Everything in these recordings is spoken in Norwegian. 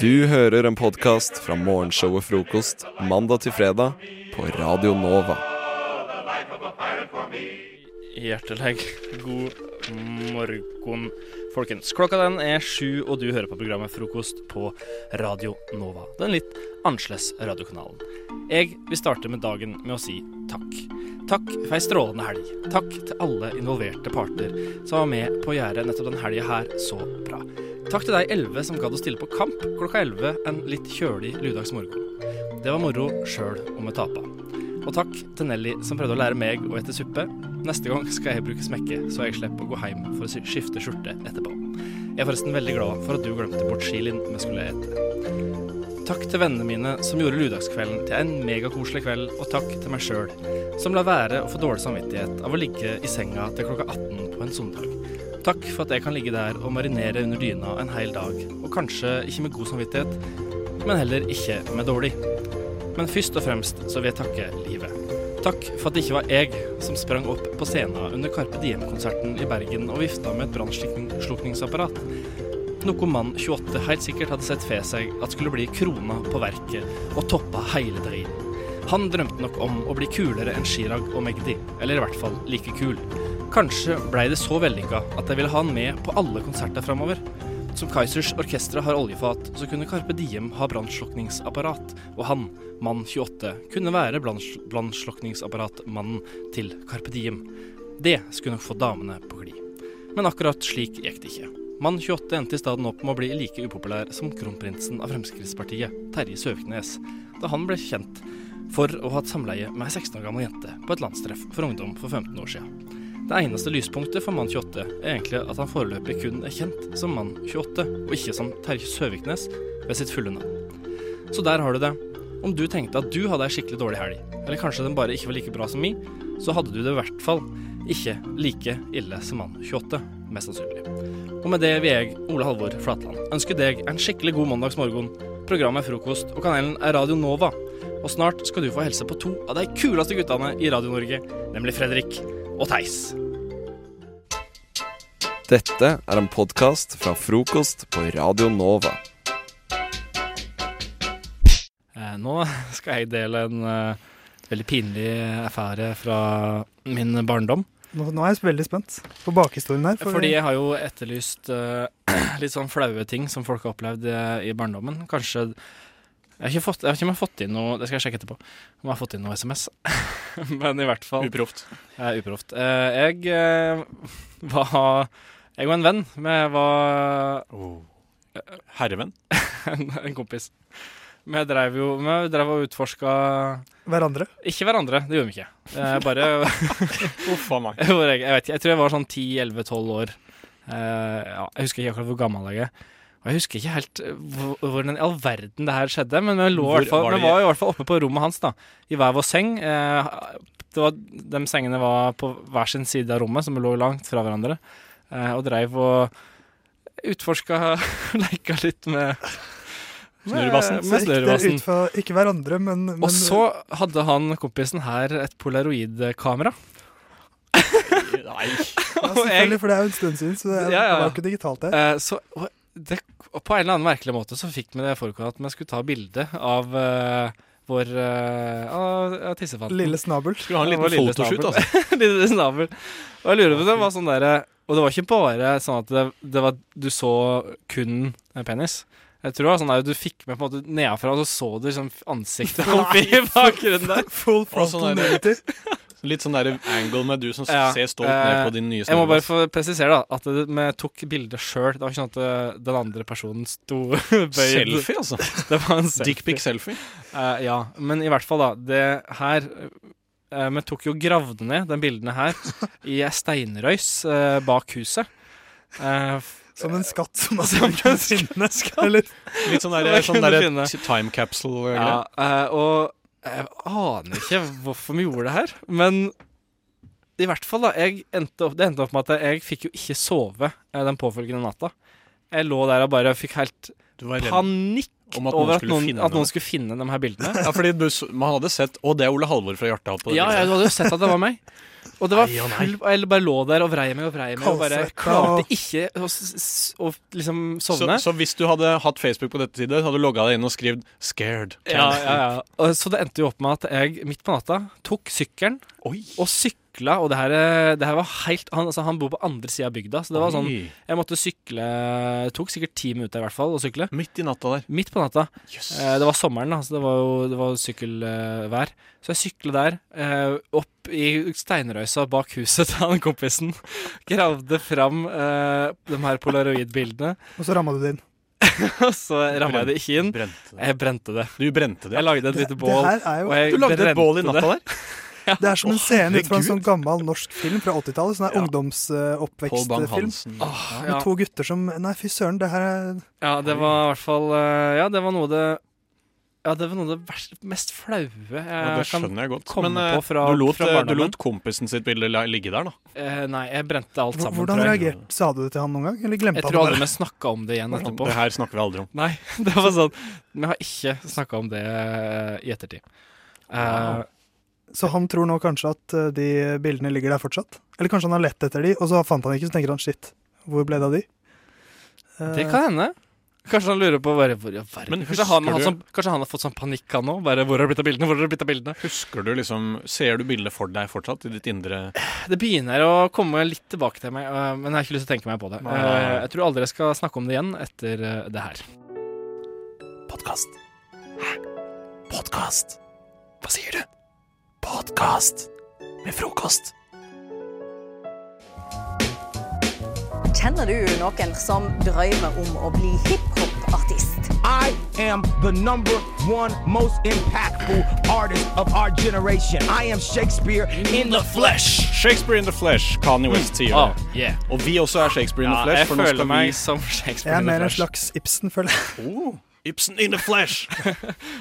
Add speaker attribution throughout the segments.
Speaker 1: Du hører en podkast fra morgenshow og frokost mandag til fredag på Radio Nova.
Speaker 2: Hjertelig god morgen, folkens. Klokka den er sju, og du hører på programmet Frokost på Radio Nova. Den litt annerledes radiokanalen. Jeg vil starte med dagen med å si takk. Takk for ei strålende helg. Takk til alle involverte parter som var med på å gjøre nettopp den helga her så bra. Takk til de elleve som gadd å stille på kamp klokka elleve en litt kjølig ludagsmorgen. Det var moro sjøl om jeg tapa. Og takk til Nelly som prøvde å lære meg å ete suppe. Neste gang skal jeg bruke smekke, så jeg slipper å gå hjem for å sy- skifte skjorte etterpå. Jeg er forresten veldig glad for at du glemte bort chilien vi skulle ete. Takk til vennene mine som gjorde ludagskvelden til en megakoselig kveld, og takk til meg sjøl, som la være å få dårlig samvittighet av å ligge i senga til klokka 18 på en søndag. Takk for at jeg kan ligge der og marinere under dyna en hel dag, og kanskje ikke med god samvittighet, men heller ikke med dårlig. Men først og fremst så vil jeg takke livet. Takk for at det ikke var jeg som sprang opp på scenen under Carpe Diem-konserten i Bergen og vifta med et brannslukningsapparat. Noe mann 28 helt sikkert hadde sett for seg at skulle bli krona på verket og toppa hele dagen. Han drømte nok om å bli kulere enn Chirag og Magdi, eller i hvert fall like kul. Kanskje blei det så vellykka at de ville ha han med på alle konserter framover. Som Kaizers orkestre har oljefat, så kunne Carpe Diem ha brannslukningsapparat. Og han, mann 28, kunne være branns- brannslukningsapparatmannen til Carpe Diem. Det skulle nok få damene på glid. Men akkurat slik gikk det ikke. Mann 28 endte i stedet opp med å bli like upopulær som kronprinsen av Fremskrittspartiet, Terje Søviknes, da han ble kjent for å ha hatt samleie med ei 16 år gammel jente på et landstreff for ungdom for 15 år siden. Det eneste lyspunktet for mann 28 er egentlig at han foreløpig kun er kjent som mann 28, og ikke som Terje Søviknes ved sitt fulle navn. Så der har du det. Om du tenkte at du hadde ei skikkelig dårlig helg, eller kanskje den bare ikke var like bra som mi, så hadde du det i hvert fall ikke like ille som mann 28, mest sannsynlig. Og med det vil jeg, Ole Halvor Flatland, ønske deg en skikkelig god mandagsmorgen. Programmet er frokost, og kanalen er Radio Nova. Og snart skal du få hilse på to av de kuleste guttene i Radio-Norge, nemlig Fredrik og Theis.
Speaker 1: Dette er en podkast fra frokost på Radio Nova.
Speaker 2: Eh, Nå skal jeg dele en eh, veldig pinlig affære fra min barndom.
Speaker 3: Nå, nå er jeg veldig spent på bakhistorien her.
Speaker 2: Fordi jeg har jo etterlyst eh, litt sånn flaue ting som folk har opplevd eh, i barndommen. Kanskje Jeg har ikke fått, jeg har ikke om jeg har fått inn noe Det skal jeg sjekke etterpå. Om jeg har fått inn noe SMS. Men i hvert fall
Speaker 4: Uproft.
Speaker 2: Eh, uproft. Eh, jeg eh, var Jeg og en venn Vi var
Speaker 4: Oh. Herrevenn.
Speaker 2: en, en kompis. Vi drev jo Vi drev og utforska
Speaker 3: Hverandre.
Speaker 2: Ikke hverandre, det gjorde vi ikke. Eh, bare
Speaker 4: Uff a meg.
Speaker 2: hvor jeg, jeg vet ikke, jeg tror jeg var sånn 10-11-12 år. Eh, ja, jeg husker ikke akkurat hvor gammel jeg er. Og jeg husker ikke helt eh, hvor- hvordan i all verden det her skjedde, men vi, lå, i
Speaker 4: Hvor
Speaker 2: hvert fall,
Speaker 4: var
Speaker 2: vi
Speaker 4: det-
Speaker 2: var i hvert fall oppe på rommet hans, da. I hver vår seng. Eh, det var, de sengene var på hver sin side av rommet, som lå langt fra hverandre. Eh, og dreiv og utforska Leka litt med
Speaker 4: Snurrebassen.
Speaker 2: Med
Speaker 3: Så gikk dere
Speaker 2: snurrebassen.
Speaker 3: ut fra ikke hverandre, men, men
Speaker 2: Og så hadde han kompisen her et polaroidkamera.
Speaker 4: Nei.
Speaker 3: ja, Selvfølgelig, for det er jo en stund siden, så det er,
Speaker 2: Ja,
Speaker 3: det
Speaker 2: ja.
Speaker 3: var jo ikke digitalt der.
Speaker 2: Eh, så og det, og på en eller annen merkelig måte så fikk vi det forekommet at vi skulle ta bilde av eh, vår eh, av, av tissefanten.
Speaker 3: Lille snabel.
Speaker 4: Skulle ha en
Speaker 2: Det var
Speaker 4: liten
Speaker 2: lille
Speaker 4: fotoshoot,
Speaker 2: snabel.
Speaker 4: altså.
Speaker 2: Lille snabel. Og jeg lurer på om det var sånn derre Og det var ikke bare sånn at det, det var, du så kun eh, penis. Jeg tror det var sånn der, Du fikk med på en måte nedenfra, og så så du liksom ansiktet oppi i bakgrunnen der.
Speaker 3: Full frontal
Speaker 4: sånn er
Speaker 3: nudity.
Speaker 4: Litt sånn der angle med du som s-
Speaker 2: Ja.
Speaker 4: ser stolt ned
Speaker 2: Eh,
Speaker 4: på din nye
Speaker 2: Jeg må bare
Speaker 4: snurrebass.
Speaker 2: få presisere da at det, vi tok bildet sjøl. Det var ikke sånn at eh, den andre personen sto bøyd.
Speaker 4: Selfie, altså.
Speaker 2: Det var en selfie.
Speaker 4: Dickpic-selfie.
Speaker 2: Eh, ja, men i hvert fall da Det her eh, Vi tok jo gravd ned den bildene her I en steinrøys eh, bak huset Eh, f-
Speaker 3: Som en skatt som har
Speaker 2: Som en
Speaker 3: sunket
Speaker 2: skatt.
Speaker 3: sinne.
Speaker 4: Litt sånn der,
Speaker 2: Det
Speaker 4: sånn
Speaker 2: kunne
Speaker 4: der
Speaker 2: finne.
Speaker 4: t- time capsule.
Speaker 2: ja,
Speaker 4: Ja.
Speaker 2: eh, Og jeg aner ikke hvorfor vi gjorde det her Men i hvert fall da jeg endte opp, Det endte opp med at jeg fikk jo ikke sove eh, Den påfølgende natta Jeg lå der og bare fikk helt
Speaker 4: Du var redd
Speaker 2: panikk
Speaker 4: om at noen
Speaker 2: over at
Speaker 4: skulle
Speaker 2: noen,
Speaker 4: finne
Speaker 2: at noen
Speaker 4: noe.
Speaker 2: skulle finne de her bildene
Speaker 4: Ja, fordi du, s- man hadde sett Å, det er Ole Halvor fra Hjartdal på det
Speaker 2: Ja, ja,
Speaker 4: bildet.
Speaker 2: du hadde jo sett at det var meg. Og det var
Speaker 4: Nei og nei.
Speaker 2: full Jeg bare lå der og vrei meg og vrei meg og bare
Speaker 3: Kaldsvetta
Speaker 2: klarte
Speaker 3: og-
Speaker 2: ikke å s- s- å liksom
Speaker 4: Så,
Speaker 2: sovne.
Speaker 4: så hvis du hadde hatt Facebook på dette tidet, så hadde du logga deg inn og skrevet 'scared'.
Speaker 2: Ja, ja, ja. Og Så det endte jo opp med at jeg midt på natta tok sykkelen
Speaker 4: Oi.
Speaker 2: og sykla, og det her, eh, det her var helt Han, altså, han bor på andre sida av bygda, så det var sånn
Speaker 4: Oi.
Speaker 2: Jeg måtte sykle Det tok sikkert ti minutter i hvert fall å sykle.
Speaker 4: Midt i natta der.
Speaker 2: Midt på natta.
Speaker 4: Jøss.
Speaker 2: Eh, Det var sommeren, da, så det var jo det var sykkelvær. Så jeg sykla der, eh, opp i steinrøysa bak huset til han kompisen. Gravde fram eh, de her polaroidbildene,
Speaker 3: Og så ramma du det inn.
Speaker 2: og så ramma jeg det ikke inn.
Speaker 4: Brente det.
Speaker 2: Jeg brente det.
Speaker 4: Du brente det.
Speaker 2: Jeg lagde et
Speaker 3: Det,
Speaker 2: lite
Speaker 3: det
Speaker 2: bål.
Speaker 3: her er jo
Speaker 2: Og jeg
Speaker 4: Du lagde
Speaker 2: brente
Speaker 4: et bål i
Speaker 2: det.
Speaker 4: natta der?
Speaker 3: Det er som en scene ut fra en
Speaker 4: herregud.
Speaker 3: sånn gammel norsk film fra 80-tallet. Sånn
Speaker 4: Ja.
Speaker 3: ja.
Speaker 4: Paul
Speaker 3: ungdomsoppvekstfilm.
Speaker 4: Bang-Hansen.
Speaker 2: Åh,
Speaker 3: Med
Speaker 2: ja.
Speaker 3: to gutter som Nei, fy søren, det her er
Speaker 2: ja, det var i hvert fall eh, Ja, det var noe av det Ja, det var noe av det verst, mest flaue jeg
Speaker 4: Ja, det
Speaker 2: kan
Speaker 4: skjønner jeg godt.
Speaker 2: komme
Speaker 4: Men eh,
Speaker 2: på fra-
Speaker 4: du, lot,
Speaker 2: fra
Speaker 4: eh, du
Speaker 2: barndommen.
Speaker 4: lot kompisen sitt bilde la- ligge der, da?
Speaker 2: eh, Nei, jeg brente alt sammen,
Speaker 3: Hvordan
Speaker 2: tror jeg.
Speaker 3: reagerte Sa du det til han noen gang? Eller glemte
Speaker 2: Jeg
Speaker 3: han
Speaker 2: tror
Speaker 3: det?
Speaker 2: aldri vi snakka om det igjen etterpå.
Speaker 4: Det her snakker vi aldri om.
Speaker 2: Nei, det var sånn Vi har ikke snakka om det eh, i ettertid. Eh,
Speaker 4: Wow.
Speaker 3: Så han tror nå kanskje at eh, de bildene ligger der fortsatt? Eller kanskje han har lett etter de, og så fant han ikke, så tenker han shit, hvor ble det av de? Eh,
Speaker 2: det kan hende. Kanskje han lurer på bare, hvor i all verden
Speaker 4: Men
Speaker 2: kanskje han,
Speaker 4: husker
Speaker 2: han
Speaker 4: du-
Speaker 2: som, kanskje han har fått sånn panikk, han òg. Bare 'Hvor har det blitt av bildene?' Hvor har det blitt av bildene?
Speaker 4: Husker du liksom Ser du bildet for deg fortsatt i ditt indre
Speaker 2: Det begynner å komme litt tilbake til meg, eh, men jeg har ikke lyst til å tenke meg på det.
Speaker 4: Nei.
Speaker 2: Eh, jeg tror aldri jeg skal snakke om det igjen etter eh, det her.
Speaker 1: Podkast. Hæ? Podkast? Hva sier du? Podkast med frokost.
Speaker 5: Kjenner du noen som drømmer om å bli hiphop-artist?
Speaker 6: I am the number one most impactful artist of our generation. I am Shakespeare in the flesh.
Speaker 4: Shakespeare in the flesh, Kanye West sier
Speaker 2: Ah,
Speaker 4: det.
Speaker 2: yeah.
Speaker 4: Og vi også er Shakespeare in the
Speaker 2: Ja,
Speaker 4: flesh,
Speaker 2: jeg
Speaker 4: for nå
Speaker 2: føler
Speaker 4: skal
Speaker 2: meg
Speaker 4: vi
Speaker 2: som
Speaker 3: Jeg
Speaker 2: Shakespeare
Speaker 3: er
Speaker 2: in the
Speaker 3: mer en
Speaker 2: Flesh.
Speaker 3: slags Ibsen, føler jeg.
Speaker 4: oh, Ibsen in the flesh!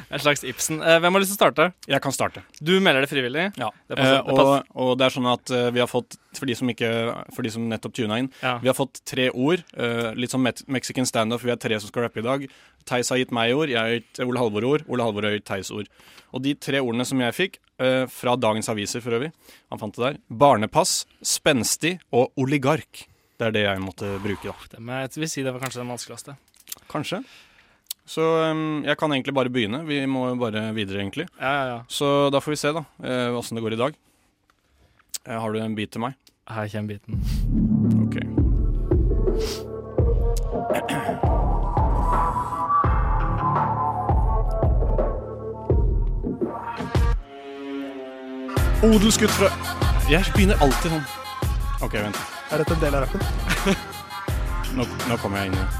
Speaker 2: En slags Ibsen. Eh, hvem har lyst til å starte?
Speaker 4: Jeg kan starte.
Speaker 2: Du melder det frivillig.
Speaker 4: Ja.
Speaker 2: Det passer-
Speaker 4: Eh,
Speaker 2: det
Speaker 4: og, og det er sånn at eh, vi har fått, for de som, ikke, for de som nettopp tuna inn,
Speaker 2: Ja.
Speaker 4: vi har fått tre ord. eh, litt som met Mexican standup, vi er tre som skal rappe i dag. Theis har gitt meg ord, jeg har gitt eh, Ole Halvor ord, Ole Halvor har gitt Theis ord. Og de tre ordene som jeg fikk, eh, fra dagens aviser for øvrig, han fant det der, barnepass, spenstig og oligark. Det er det jeg måtte bruke, da.
Speaker 2: Det med, jeg vil si det var kanskje den vanskeligste.
Speaker 4: Kanskje. Så eh, jeg kan egentlig bare begynne. Vi må jo bare videre, egentlig.
Speaker 2: Ja, ja, ja.
Speaker 4: Så da får vi se da åssen det går i dag. Eh, har du en bit til meg?
Speaker 2: Her kommer biten.
Speaker 4: Ok.
Speaker 2: Oh,
Speaker 4: Odelsgutt fra Jeg begynner alltid sånn. OK, vent.
Speaker 3: Er dette en del av rappen?
Speaker 4: Nå, nå kommer jeg inn i det.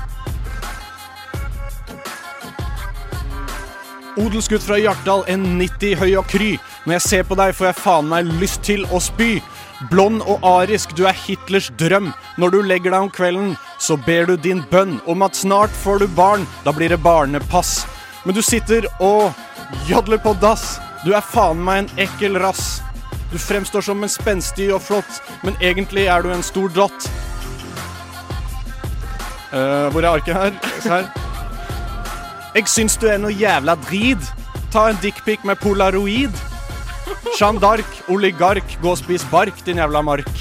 Speaker 4: Odelsgutt fra Hjartdal, en 90 høy og kry. Når jeg ser på deg, får jeg faen meg lyst til å spy. Blond og arisk, du er Hitlers drøm. Når du legger deg om kvelden, så ber du din bønn om at snart får du barn. Da blir det barnepass. Men du sitter og jodler på dass. Du er faen meg en ekkel rass. Du fremstår som en spenstig og flott, men egentlig er du en stor dott. Eh, hvor er arket her? Se her. Jeg syns du er noe jævla drit. Ta en dickpic med polaroid. Jeanne d'Arc, oligark, gå og spis bark, din jævla mark.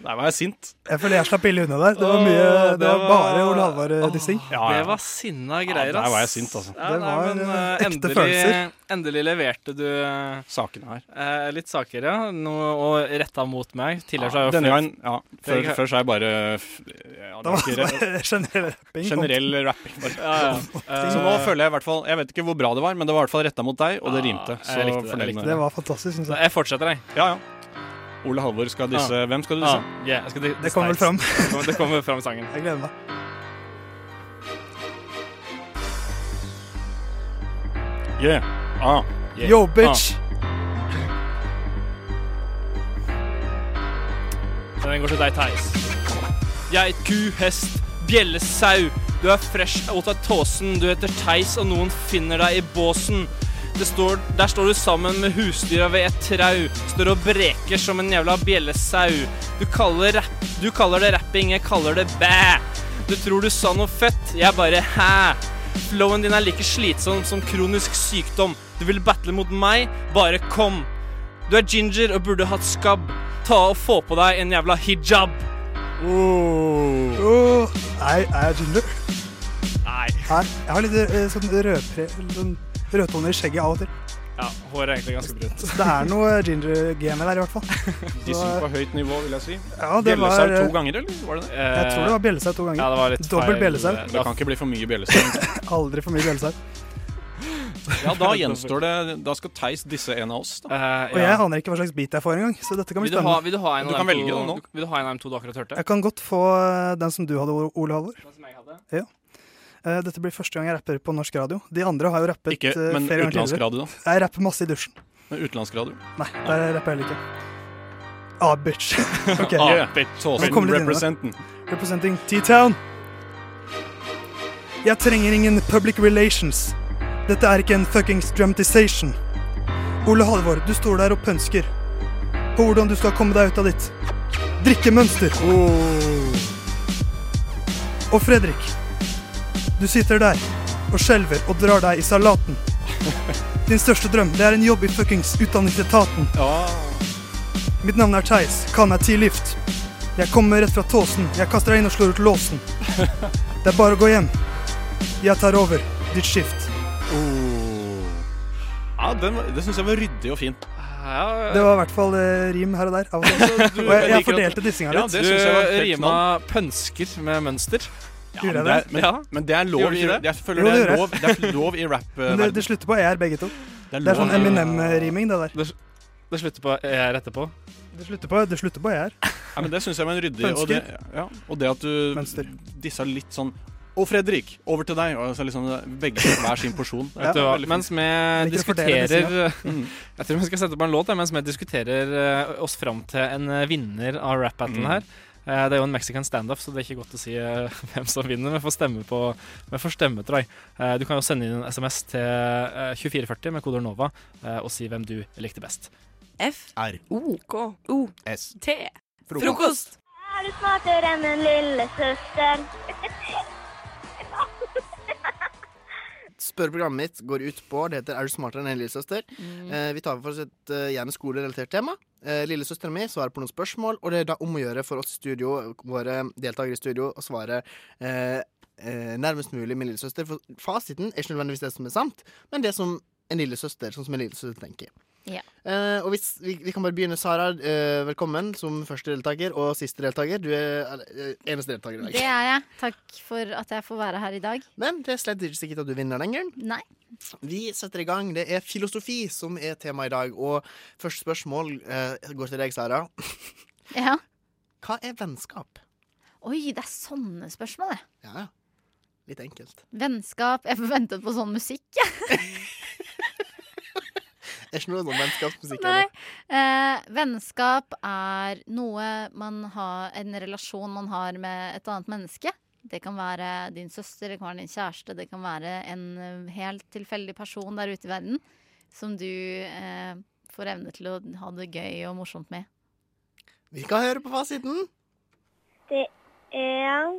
Speaker 4: Der var jeg sint.
Speaker 3: Jeg føler jeg slapp billig unna der. Det var,
Speaker 2: Åh,
Speaker 3: mye, det
Speaker 2: det
Speaker 3: var
Speaker 2: var-
Speaker 3: bare Ole Halvor-dissing.
Speaker 2: Det var sinna greier,
Speaker 4: der
Speaker 2: ass.
Speaker 4: var jeg sint, altså.
Speaker 2: Ja,
Speaker 3: Det
Speaker 2: nei,
Speaker 3: var,
Speaker 2: men,
Speaker 3: eh,
Speaker 2: eh,
Speaker 3: ekte
Speaker 2: endelig,
Speaker 3: følelser.
Speaker 2: Endelig leverte du eh,
Speaker 4: Sakene her.
Speaker 2: eh, litt saker, ja. Noe, og retta mot meg. Tidligere så har jeg
Speaker 4: Denne
Speaker 2: flere-
Speaker 4: gangen ja, før, før så er jeg bare ja, det
Speaker 3: Det
Speaker 4: var
Speaker 3: var
Speaker 4: ikke re-
Speaker 3: bare generell rapping.
Speaker 4: generell rapping. Bare.
Speaker 2: ja, ja. Eh,
Speaker 4: Så nå føler jeg i hvert fall Jeg vet ikke hvor bra det var, men det var i hvert fall retta mot deg, og
Speaker 2: Ja,
Speaker 4: det rimte.
Speaker 2: jeg likte
Speaker 4: Så
Speaker 2: det, jeg
Speaker 4: fornøyd
Speaker 2: likte
Speaker 4: med
Speaker 3: Det var fantastisk, syns
Speaker 2: så
Speaker 3: jeg.
Speaker 2: jeg fortsetter, jeg.
Speaker 4: Ja, ja. Ole Halvor skal disse Hvem skal du disse?
Speaker 2: Ah, yeah, jeg skal di-
Speaker 3: Det kommer vel fram.
Speaker 2: Det kommer- Det kommer fram i sangen.
Speaker 3: Jeg gleder meg.
Speaker 4: Yeah. Ah.
Speaker 2: Yeah.
Speaker 3: Yo, bitch!
Speaker 2: Så Den går til deg, Theis. Jeg er ku, hest, bjellesau. Du er fresh out av tåsen. Du heter Theis, og noen finner deg i båsen. Det står, der står du sammen med husdyra ved et trau. Står og breker som en jævla bjellesau. Du kaller, rapp, du kaller det rapping, jeg kaller det bæ. Du tror du sa noe fett, jeg bare hæ. Flowen din er like slitsom som kronisk sykdom. Du vil battle fiendtlig mot meg. Bare kom. Du er ginger og burde hatt skabb. Ta og få på deg en jævla hijab.
Speaker 3: Åh, nei, er jeg ginger?
Speaker 2: Oh. Nei.
Speaker 3: Nei, jeg har litt eh, sånn rødpre... Sånn rødtoner i skjegget av og til.
Speaker 2: Ja, håret er egentlig ganske brunt.
Speaker 3: Så det er noe ginger-game der, i hvert fall.
Speaker 4: Dissing på høyt nivå, vil jeg si.
Speaker 3: Ja, det var
Speaker 4: Bjellesau
Speaker 3: eh,
Speaker 4: to ganger, eller? Var det det?
Speaker 3: Jeg tror det var bjellesau to
Speaker 2: Eh, Ja,
Speaker 3: ganger.
Speaker 2: det var litt
Speaker 3: Dobbel
Speaker 2: feil. eh,
Speaker 3: bjellesau.
Speaker 2: Det
Speaker 4: Det
Speaker 2: var-
Speaker 4: kan ikke bli for mye bjellesau.
Speaker 3: Aldri for mye bjellesau.
Speaker 4: Ja, da gjenstår det Da skal Theis disse en av oss, da.
Speaker 2: Eh,
Speaker 3: Og
Speaker 2: ja.
Speaker 3: jeg aner ikke hva slags beat jeg får engang, så dette kan bli
Speaker 2: vil, du ha,
Speaker 3: spennende.
Speaker 2: vil du ha en av
Speaker 4: Du kan
Speaker 2: dem
Speaker 4: velge
Speaker 2: to-
Speaker 4: den nå.
Speaker 2: Vil du ha en av dem to du akkurat hørte?
Speaker 3: Jeg kan godt få eh, den som du hadde, Ole Halvor.
Speaker 2: Den som jeg hadde?
Speaker 3: Eh, Dette blir første gang jeg rapper på norsk radio. De andre har jo rappet
Speaker 4: Ikke,
Speaker 3: eh,
Speaker 4: men
Speaker 3: flere ganger tidligere.
Speaker 4: utenlandsradio, da.
Speaker 3: Jeg rapper masse i dusjen.
Speaker 4: Men utenlandsradio.
Speaker 3: Nei, der rapper jeg heller ikke. Ah, bitch. ok,
Speaker 4: Ah,
Speaker 3: Nå kommer det
Speaker 4: Tåsen
Speaker 3: inn, da.
Speaker 4: representen.
Speaker 3: representing T-Town. Jeg trenger ingen public relations. Dette er ikke en fuckings dramatization. Ole Halvor, du står der og pønsker på hvordan du skal komme deg ut av ditt drikkemønster. Oh. Og Fredrik, du sitter der og skjelver og drar deg i salaten. Din største drøm, det er en jobb i fuckings utdanningsetaten. Mitt navn er Theis, kan jeg T-lift? Jeg kommer rett fra tåsen. Jeg kaster deg inn og slår ut låsen. Det er bare å gå hjem. Jeg tar over ditt skift.
Speaker 4: Oh. Ja, den, var- det syns jeg var ryddig og fint.
Speaker 2: Ja,
Speaker 3: Det var i hvert fall eh, rim her og der. Av og til.
Speaker 2: du,
Speaker 3: Og jeg, jeg
Speaker 2: liker at-
Speaker 3: fordelte dissinga
Speaker 4: Ja,
Speaker 3: litt.
Speaker 4: det synes jeg var
Speaker 2: Du
Speaker 4: helt
Speaker 2: rima pønsker med mønster.
Speaker 3: Gjorde jeg
Speaker 4: det
Speaker 3: det?
Speaker 4: er, men,
Speaker 2: Ja.
Speaker 4: men det er lov
Speaker 2: Gjorde du
Speaker 4: i
Speaker 2: ikke det?
Speaker 4: Jeg føler
Speaker 3: Jo,
Speaker 4: det
Speaker 3: det
Speaker 4: er
Speaker 3: gjorde
Speaker 4: lov, det er lov i eh,
Speaker 3: Men det,
Speaker 4: rap-verdenen.
Speaker 3: det slutter på ER, begge to. Det
Speaker 4: lov
Speaker 3: er sånn
Speaker 4: i-
Speaker 3: Eminem-riming, det der.
Speaker 2: Det slutter på ER etterpå.
Speaker 3: Det slutter på, det slutter på ER.
Speaker 4: Ja, men det syns jeg var en ryddig. Og det,
Speaker 3: Mønster.
Speaker 4: ja, og det at du
Speaker 3: Mønster.
Speaker 4: dissa litt sånn Å, Fredrik, over til deg. Og så liksom Begge fikk hver sin porsjon. Det
Speaker 2: Vet du hva?
Speaker 4: var veldig
Speaker 2: Mens
Speaker 4: fint.
Speaker 2: vi
Speaker 3: Liker å fordele
Speaker 2: diskuterer
Speaker 4: Mm.
Speaker 2: Jeg tror vi skal sette på en låt jeg, mens vi diskuterer eh, oss fram til en eh, vinner av rap-battlen
Speaker 4: Mm.
Speaker 2: her. Eh, Det er jo en mexican standoff, så det er ikke godt å si eh, hvem som vinner. Vi får stemme på Vi får stemme, tror jeg. Eh, Du kan jo sende inn en SMS til eh, 2440 med kodeord NOVA eh, og si hvem du likte best.
Speaker 5: F-R-O-K-O-T. Frokost.
Speaker 7: Er du smartere enn en lillesøster?
Speaker 8: Spørreprogrammet mitt går ut på Det heter Er du smartere enn en lillesøster?
Speaker 7: Mm.
Speaker 8: Eh, vi tar for oss et eh, gjerne skolerelatert tema. Eh, Lillesøsteren min svarer på noen spørsmål, og det er da om å gjøre for oss i studio, våre deltakere i studio, å svare eh, eh, nærmest mulig min lillesøster. For fasiten er ikke nødvendigvis det som er sant, men det som en lillesøster, sånn som en lillesøster tenker.
Speaker 7: Ja.
Speaker 8: Eh, og hvis, vi, vi kan bare begynne. Sara, eh, velkommen som første deltaker og siste deltaker. Du er eh, eneste deltaker i
Speaker 7: Det
Speaker 8: dag.
Speaker 7: er jeg. Takk for at jeg får være her i dag.
Speaker 8: Men det er slett ikke sikkert at du vinner lenger.
Speaker 7: Nei.
Speaker 8: Vi setter i gang. Det er filosofi som er tema i dag. Og første spørsmål eh, går til deg, Sara.
Speaker 7: Ja.
Speaker 8: Hva er vennskap?
Speaker 7: Oi, det er sånne spørsmål, det.
Speaker 8: Ja, litt enkelt.
Speaker 7: Vennskap Jeg ventet på sånn musikk. jeg.
Speaker 8: Er ikke noe sånn vennskapsmusikk
Speaker 7: Nei.
Speaker 8: her nå.
Speaker 7: Eh, vennskap er noe man har En relasjon man har med et annet menneske. Det kan være din søster, det kan være din kjæreste, det kan være en eh, helt tilfeldig person der ute i verden som du eh, får evne til å ha det gøy og morsomt med.
Speaker 8: Vi kan høre på fasiten.
Speaker 7: Det er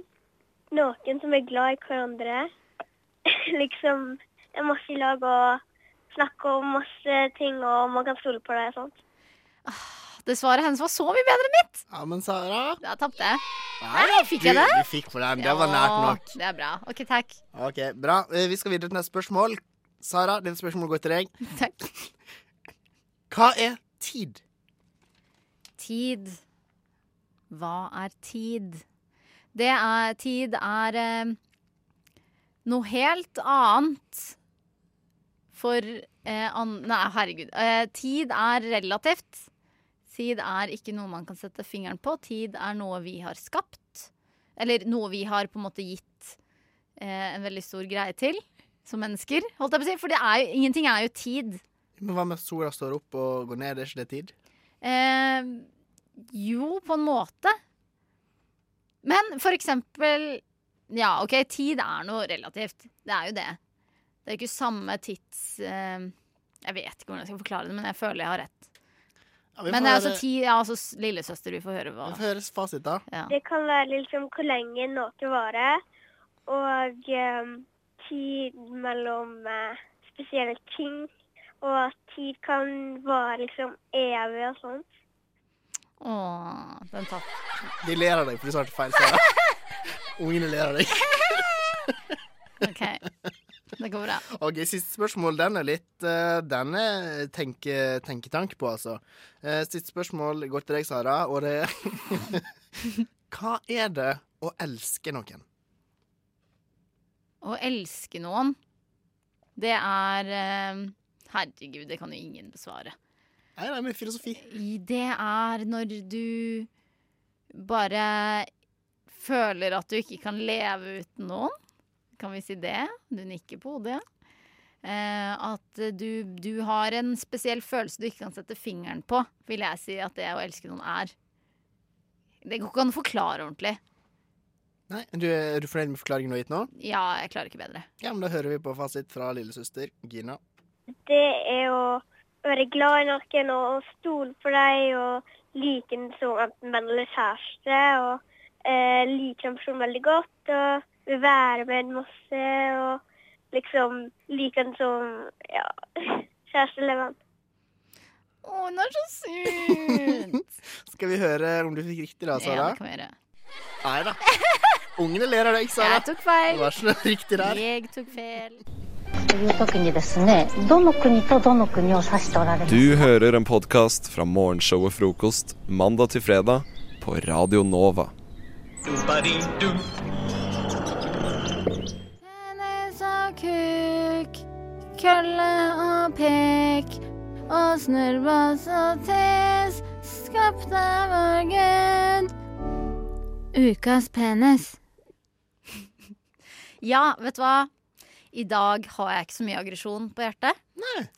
Speaker 7: noen som er glad i hverandre. liksom er masse i lag og snakker om masse ting, og man kan stole på det og sånt. Det svaret hennes var så mye bedre enn mitt!
Speaker 8: Ja, men Sara
Speaker 7: Da tapte jeg.
Speaker 8: Nei,
Speaker 7: Nei, fikk jeg
Speaker 8: du,
Speaker 7: det?
Speaker 8: du fikk på den. Det var nært nok.
Speaker 7: Ja, Det er bra. OK, takk.
Speaker 8: Ok, Bra. Eh, Vi skal videre til neste spørsmål. Sara, dette spørsmålet går til deg.
Speaker 7: Takk.
Speaker 8: Hva er tid?
Speaker 7: Tid. Hva er tid? Det er Tid er eh, noe helt annet for eh, an, Nei, herregud. Eh, tid er relativt. Tid er ikke noe man kan sette fingeren på. Tid er noe vi har skapt. Eller noe vi har på en måte gitt eh, en veldig stor greie til som mennesker. Holdt jeg på å si. For det er jo, ingenting er jo tid.
Speaker 8: Men Hva med at sola står opp og går ned? Er ikke det tid?
Speaker 7: Eh, jo, på en måte. Men for eksempel Ja, OK, tid er noe relativt. Det er jo det. Det er ikke samme tids eh, Jeg vet ikke hvordan jeg skal forklare det, men jeg føler jeg har rett.
Speaker 8: Ja, vi
Speaker 7: Men
Speaker 8: får
Speaker 7: det er altså
Speaker 8: høre-
Speaker 7: tid Ja, altså s- lillesøster, vi får høre hva
Speaker 8: Vi får høre fasit, da.
Speaker 7: ja.
Speaker 9: Det kan være liksom hvor lenge noe varer, og eh, tid mellom eh, spesielle ting. og at tid kan vare liksom evig og sånn.
Speaker 7: Åh, den tatt.
Speaker 8: De ler av deg fordi du svarte feil. Sara. Ungene ler av deg.
Speaker 7: OK. Det går bra.
Speaker 8: Ok, Siste spørsmål. Den er litt eh, Den er tenke, tenketank på, altså. Eh, siste spørsmål går til deg, Sara, og det er Hva er det å elske noen?
Speaker 7: Å elske noen, det er eh, Herregud, det kan jo ingen besvare.
Speaker 8: Nei, nei, men filosofi.
Speaker 7: I- Det er når du bare føler at du ikke kan leve uten noen. Kan vi si det? Du nikker på hodet, ja. Eh, at du, du har en spesiell følelse du ikke kan sette fingeren på, vil jeg si at det å elske noen er. Det går ikke an å forklare ordentlig.
Speaker 8: Nei, du, Er du fornøyd med forklaringen du har gitt nå?
Speaker 7: Ja, jeg klarer ikke bedre.
Speaker 8: Ja, men Da hører vi på fasit fra lillesøster Gina.
Speaker 9: Det er å være glad i noen og stole på deg og like den som enten venn eller kjæreste. Og eh, like den personen veldig godt og vil være med en masse og liksom like den som ja, kjæreste eller venn.
Speaker 7: Å, hun er så søt!
Speaker 8: Skal vi høre om du fikk riktig da,
Speaker 7: ja,
Speaker 8: Sara?
Speaker 7: det kan vi gjøre.
Speaker 8: Nei da. Ungene ler av deg, Sara.
Speaker 7: Jeg tok feil.
Speaker 8: Det var ikke noe riktig der.
Speaker 7: Jeg tok feil.
Speaker 10: という時にですねどの国とどの国を指しておられる
Speaker 1: Du hører en podkast fra morgenshowet Frokost mandag til fredag på Radio Nova.
Speaker 6: Uh,
Speaker 7: Penis og kuk, kølle og pek, og snurrbås og tes, skapte vår Gud. Ukas penis. Ja, vet du hva? I dag har jeg ikke så mye aggresjon på hjertet.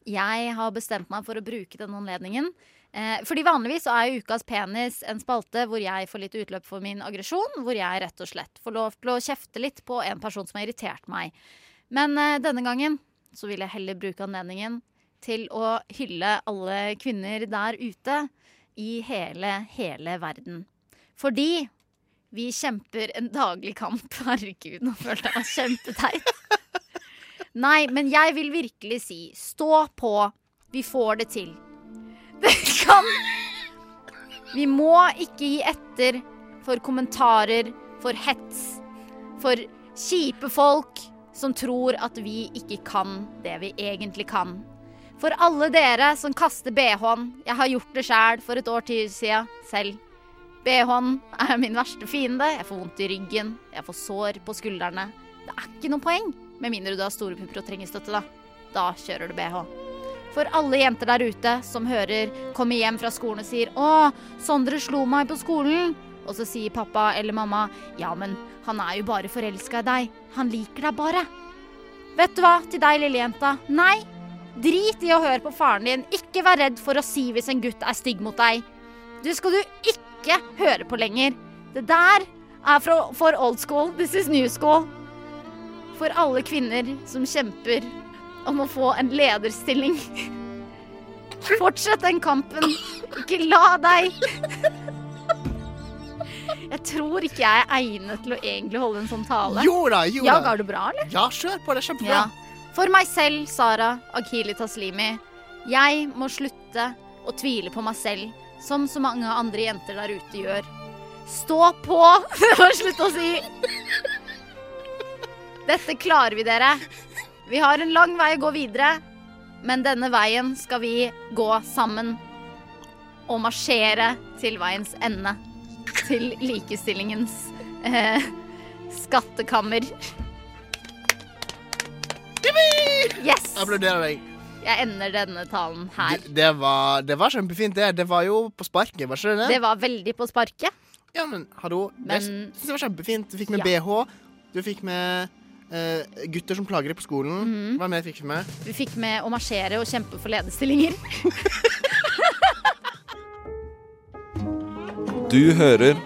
Speaker 7: Jeg har bestemt meg for å bruke denne anledningen. Eh, fordi Vanligvis så er jo Ukas penis en spalte hvor jeg får litt utløp for min aggresjon. Hvor jeg rett og slett får lov til å kjefte litt på en person som har irritert meg. Men eh, denne gangen så vil jeg heller bruke anledningen til å hylle alle kvinner der ute i hele, hele verden. Fordi vi kjemper en daglig kamp. Herregud, nå følte jeg meg kjempeteit. Nei, men jeg vil virkelig si stå på. Vi får det til. Det kan Vi må ikke gi etter for kommentarer, for hets, for kjipe folk som tror at vi ikke kan det vi egentlig kan. For alle dere som kaster BH-en. Jeg har gjort det sjæl for et år til siden selv. BH-en er min verste fiende. Jeg får vondt i ryggen, jeg får sår på skuldrene. Det er ikke noe poeng, med mindre du har store pupper og trenger støtte, da. Da kjører du BH. For alle jenter der ute som hører, kommer hjem fra skolen og sier 'Å, Sondre slo meg på skolen', og så sier pappa eller mamma 'Ja, men han er jo bare forelska i deg. Han liker deg bare'. Vet du hva, til deg, lillejenta. Nei, drit i å høre på faren din. Ikke vær redd for å si hvis en gutt er stygg mot deg. Du skal du ikke høre på lenger. Det der er fra, for old school. This is new school. For alle kvinner som kjemper om å få en lederstilling. Fortsett den kampen. Ikke la deg. Jeg tror ikke jeg er egnet til å egentlig holde en sånn tale.
Speaker 8: Jo da, jo
Speaker 7: Ja,
Speaker 8: da.
Speaker 7: Går det bra, eller?
Speaker 8: Ja, kjør på. Det er kjempebra.
Speaker 7: Ja. For meg selv, Sara Akhili Taslimi. Jeg må slutte å tvile på meg selv, som så mange andre jenter der ute gjør. Stå på! Det var slutt å si. Dette klarer vi, dere. Vi har en lang vei å gå videre, men denne veien skal vi gå sammen. Og marsjere til veiens ende. Til likestillingens eh, skattekammer. Yes!
Speaker 8: Applauderer deg.
Speaker 7: Jeg ender denne talen her.
Speaker 8: Det, det, var, det var kjempefint, det. Det var jo på sparket, var ikke det?
Speaker 7: Det var veldig på sparket.
Speaker 8: Ja, men hallo.
Speaker 7: Men-
Speaker 8: Jeg syns det var kjempefint. Du fikk med
Speaker 7: Ja.
Speaker 8: BH. Du fikk med eh, gutter som plager deg på skolen.
Speaker 7: Mhm.
Speaker 8: Hva mer fikk vi med?
Speaker 7: Vi fikk med å marsjere og kjempe for lederstillinger.
Speaker 1: Du hører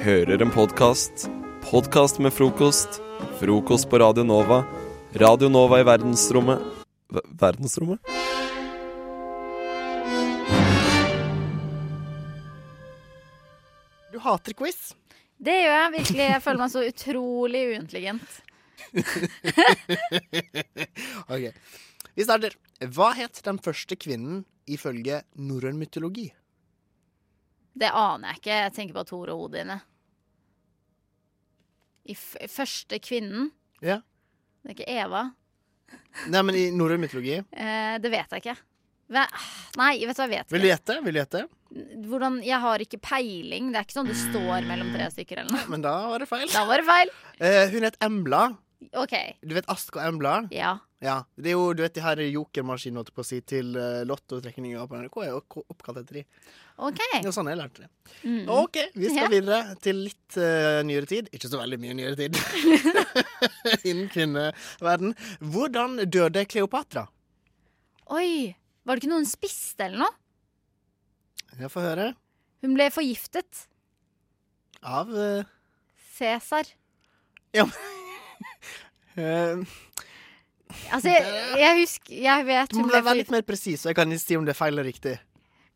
Speaker 1: Hører en podkast. Podkast med frokost. Frokost på Radio Nova. Radio Nova i verdensrommet Ver- Verdensrommet?
Speaker 8: Du hater quiz.
Speaker 7: Det gjør jeg virkelig. Jeg føler meg så utrolig uintelligent.
Speaker 8: OK. Vi starter. Hva het den første kvinnen ifølge norrøn mytologi?
Speaker 7: Det aner jeg ikke. Jeg tenker på Thor og Odin. jeg. I f første kvinnen.
Speaker 8: Ja.
Speaker 7: Det er ikke Eva.
Speaker 8: Nei, men i norrøn mytologi
Speaker 7: Eh, det vet jeg ikke. Hva? Nei, vet du hva jeg vet
Speaker 8: Vil du gjette? Vil du gjette?
Speaker 7: ikke. Hvordan, jeg har ikke peiling. Det er ikke sånn det står mellom tre stykker eller noe.
Speaker 8: Men da var det feil.
Speaker 7: Da var det feil.
Speaker 8: Eh, hun het Embla.
Speaker 7: OK.
Speaker 8: Du vet Ask og Embla?
Speaker 7: Ja.
Speaker 8: Ja, det er jo, du vet de her jokermaskinene holdt jeg på å si, til uh, lottotrekninga på NRK er jo k- oppkalt etter de.
Speaker 7: OK.
Speaker 8: Ja, sånn jeg lærte det.
Speaker 7: Mm.
Speaker 8: OK, vi skal
Speaker 7: Ja.
Speaker 8: videre til litt eh, nyere tid. Ikke så veldig mye nyere tid. Innen kvinneverden. Hvordan døde Kleopatra?
Speaker 7: Oi. Var det ikke noen spiste eller noe?
Speaker 8: Jeg får høre.
Speaker 7: Hun ble forgiftet.
Speaker 8: Av eh,
Speaker 7: Cæsar.
Speaker 8: eh,
Speaker 7: Altså, jeg, jeg husker Jeg vet
Speaker 8: Du må
Speaker 7: hun ble
Speaker 8: være litt
Speaker 7: forgiftet.
Speaker 8: mer presis, og jeg kan ikke si om det er feil eller riktig.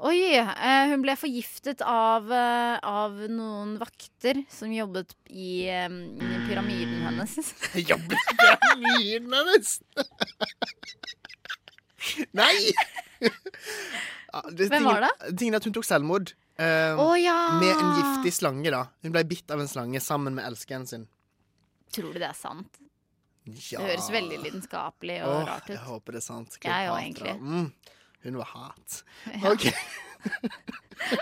Speaker 7: Oi! eh, Hun ble forgiftet av, eh, av noen vakter som jobbet i eh, i pyramiden hennes.
Speaker 8: Jobbet i pyramiden hennes? Nei! Ja,
Speaker 7: Hvem var
Speaker 8: det? Tingen er at hun tok selvmord. eh,
Speaker 7: Å, ja.
Speaker 8: Med en giftig slange, da. Hun ble bitt av en slange sammen med elskeren sin.
Speaker 7: Tror du det er sant?
Speaker 8: Ja.
Speaker 7: Det høres veldig lidenskapelig og
Speaker 8: Åh,
Speaker 7: rart
Speaker 8: Jeg
Speaker 7: ut.
Speaker 8: håper det er sant.
Speaker 7: Jeg er jo
Speaker 8: Kleopatra.
Speaker 7: egentlig.
Speaker 8: Mm, hun var hat.
Speaker 7: Ja.
Speaker 8: OK.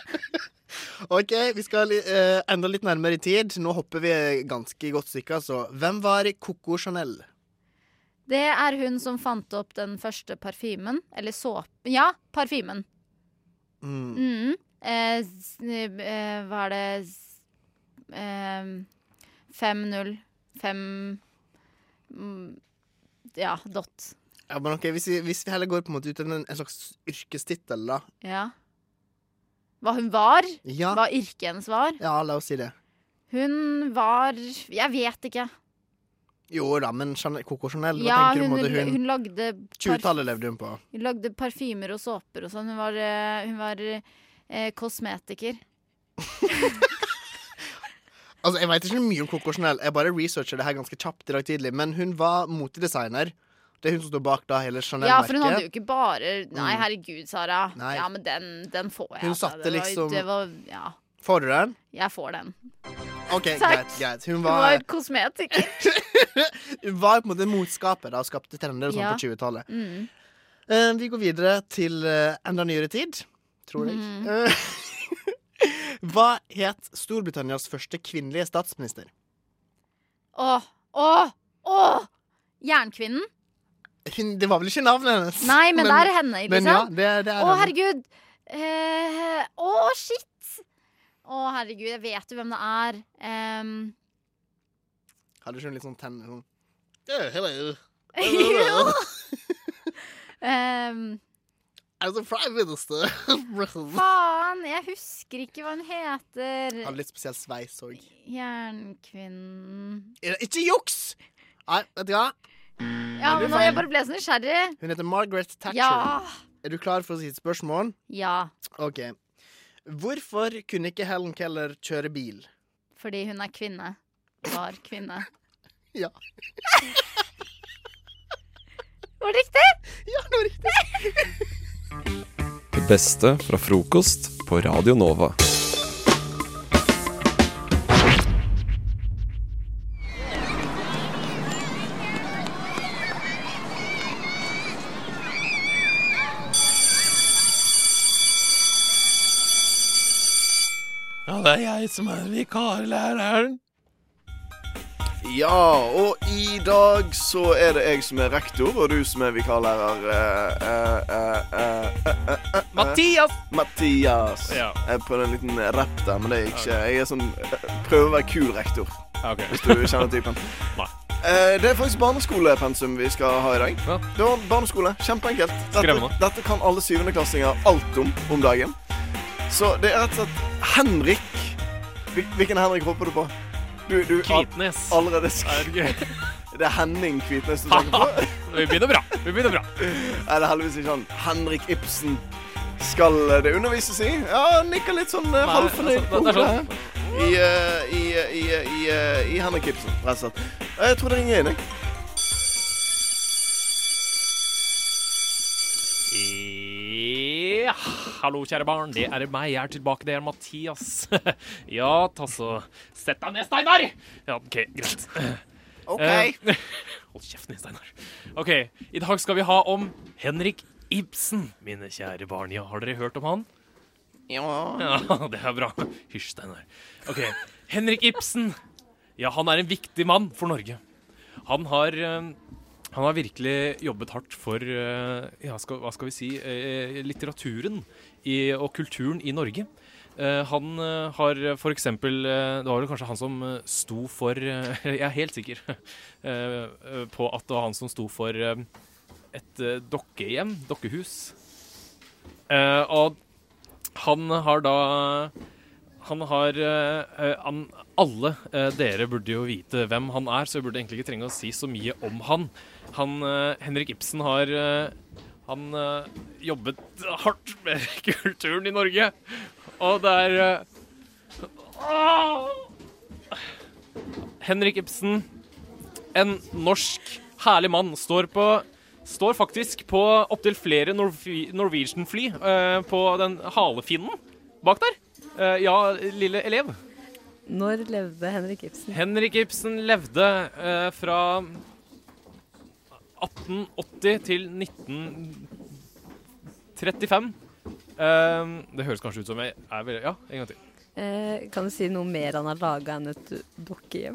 Speaker 8: OK, vi skal li- eh, enda litt nærmere i tid. Nå hopper vi ganske godt stykke, altså. Hvem var Coco Chanel?
Speaker 7: Det er hun som fant opp den første parfymen. Eller såpen Ja, parfymen.
Speaker 8: Mm.
Speaker 7: Mm. Eh, s- eh, hva er det s- eh, 5-0. 5 mm, Ja, dot.
Speaker 8: Ja, men ok, hvis vi, hvis vi heller går på en måte ut til en, en slags yrkestittel, da.
Speaker 7: Ja. Hva hun var?
Speaker 8: Ja.
Speaker 7: Hva yrket hennes var?
Speaker 8: ja, la oss si det.
Speaker 7: Hun var Jeg vet ikke.
Speaker 8: Jo da, men Chanel, Coco Chanel, hva
Speaker 7: Ja,
Speaker 8: tenker
Speaker 7: hun,
Speaker 8: du på en måte
Speaker 7: hun,
Speaker 8: hun,
Speaker 7: lagde parf
Speaker 8: 20-tallet levde hun på.
Speaker 7: hun lagde parfymer og såper og sånn. Hun var, eh, hun var eh, kosmetiker.
Speaker 8: Altså, Jeg veit ikke mye om Coco Chanel, jeg bare researcher det her ganske kjapt i dag tidlig. Men hun var motedesigner. Det er hun som står bak da hele
Speaker 7: Ja, for hun hadde jo
Speaker 8: Chanel-merket.
Speaker 7: ikke bare Nei,
Speaker 8: Mm.
Speaker 7: herregud, Sara.
Speaker 8: Nei.
Speaker 7: Ja, men den, den får jeg.
Speaker 8: Hun
Speaker 7: altså.
Speaker 8: satte
Speaker 7: det var,
Speaker 8: liksom-
Speaker 7: Det var Ja,
Speaker 8: Får du den?
Speaker 7: jeg får den.
Speaker 8: OK,
Speaker 7: Takk.
Speaker 8: greit. greit. Hun
Speaker 7: Hun
Speaker 8: var,
Speaker 7: var kosmetiker.
Speaker 8: hun var på en måte motskaper da, og skapte trender og sånn
Speaker 7: Ja.
Speaker 8: på 20-tallet.
Speaker 7: Mm.
Speaker 8: Eh, vi går videre til eh, enda nyere tid, tror jeg.
Speaker 7: Mm.
Speaker 8: Eh, Hva het Storbritannias første kvinnelige statsminister?
Speaker 7: Åh, åh, åh! Jernkvinnen?
Speaker 8: Hun, det var vel ikke navnet hennes?
Speaker 7: Nei, men, det er henne, liksom.
Speaker 8: Men ja, det, det er
Speaker 7: Å,
Speaker 8: henne.
Speaker 7: herregud! Eh, Å, shit! Å, herregud, jeg vet jo hvem det er. Em,
Speaker 8: Hadde ikke hun litt sånn tenner sånn «Eh, Hello.
Speaker 7: Jo.
Speaker 8: hello.
Speaker 7: em,
Speaker 8: As a prime minister. Hadde
Speaker 7: faen, jeg husker ikke hva hun heter.
Speaker 8: litt spesiell sveis òg. Mm.
Speaker 7: Jernkvinnen
Speaker 8: Ikke juks! Nei, vet du hva?
Speaker 7: Ja,
Speaker 8: Det er
Speaker 7: men nå
Speaker 8: feil.
Speaker 7: jeg bare ble så nysgjerrig.
Speaker 8: Hun heter Margaret Thatcher.
Speaker 7: Ja.
Speaker 8: Er du klar for å si et spørsmål?
Speaker 7: Ja,
Speaker 8: OK. Hvorfor kunne ikke Helen Keller kjøre bil?
Speaker 7: fordi hun er kvinne. Var kvinne.
Speaker 8: Ja.
Speaker 7: Var det riktig?
Speaker 8: Ja, det var riktig.
Speaker 1: Det beste fra frokost på Radio Nova.
Speaker 11: Ja, det er jeg som er vikarlæreren.
Speaker 12: Ja, og i dag så er det jeg som er rektor, og du som er vikarlærer eh,
Speaker 2: Mathias!
Speaker 12: Mathias.
Speaker 2: Ja.
Speaker 12: Jeg er på en liten rapp der, men det er ikke Jeg er sånn eh, Prøver å være kul rektor,
Speaker 11: Ok.
Speaker 12: hvis du kjenner typen. Eh, Det er faktisk barneskolepensum vi skal ha i dag. Det var barneskole. Kjempeenkelt. Dette,
Speaker 11: Skremmende.
Speaker 12: dette kan alle syvendeklassinger alt om om dagen. Så det er rett og slett Henrik Hvil- Hvilken Henrik håper du på? Du, du,
Speaker 11: Kvitnes.
Speaker 12: Allerede sk Det er Henning Kvitnes du tenker på?
Speaker 11: Vi begynner bra. Vi begynner bra.
Speaker 12: Nei, det er heldigvis ikke han. Henrik Ibsen. Skal det undervises i? Ja, han nikker litt sånn eh,
Speaker 11: Nei,
Speaker 12: halvfornøyd
Speaker 11: altså,
Speaker 12: på
Speaker 11: det er
Speaker 12: hodet.
Speaker 11: sånn.
Speaker 12: her. I, eh, i, eh, i, eh, i, eh, I Henrik Ibsen, rett og slett. Jeg tror det ringer inn, jeg.
Speaker 13: Ja, hallo, kjære barn. Det er meg. Jeg er tilbake. Det er Mathias. ja, ta så Sett deg ned, Steinar! Ja, OK, greit.
Speaker 12: OK.
Speaker 13: Eh, hold kjeften din, Steinar. OK, i dag skal vi ha om Henrik Ibsen, mine kjære barn. Ja, har dere hørt om han?
Speaker 12: Ja.
Speaker 13: Ja, det er bra. Hysj, Steinar. OK. Henrik Ibsen. Ja, han er en viktig mann for Norge. Han har eh, han har virkelig jobbet hardt for eh, ja, skal, hva skal vi si eh, litteraturen i, og kulturen i Norge. Eh, han eh, har for eksempel eh, Det var vel kanskje han som eh, sto for eh, Jeg er helt sikker eh, eh, på at det var han som sto for eh, et eh, dokkehjem, dokkehus. Eh, og han har da Han har eh, eh, han, Alle eh, dere burde jo vite hvem han er, så jeg burde egentlig ikke trenge å si så mye om han. Han eh, Henrik Ibsen har eh, han eh, jobbet hardt med kulturen i Norge, og det er eh, åh! Henrik Ibsen, en norsk herlig mann, står på Står faktisk på opptil flere Norv- Norwegian-fly eh, på den halefinnen bak der. Eh, ja, lille elev.
Speaker 14: Når levde Henrik Ibsen?
Speaker 13: Henrik Ibsen levde eh, fra 1880 til 1935. Eh, det høres kanskje ut som jeg er veldig Ja, en gang til.
Speaker 14: Eh, kan du si noe mer han har laga enn et dokkehjem?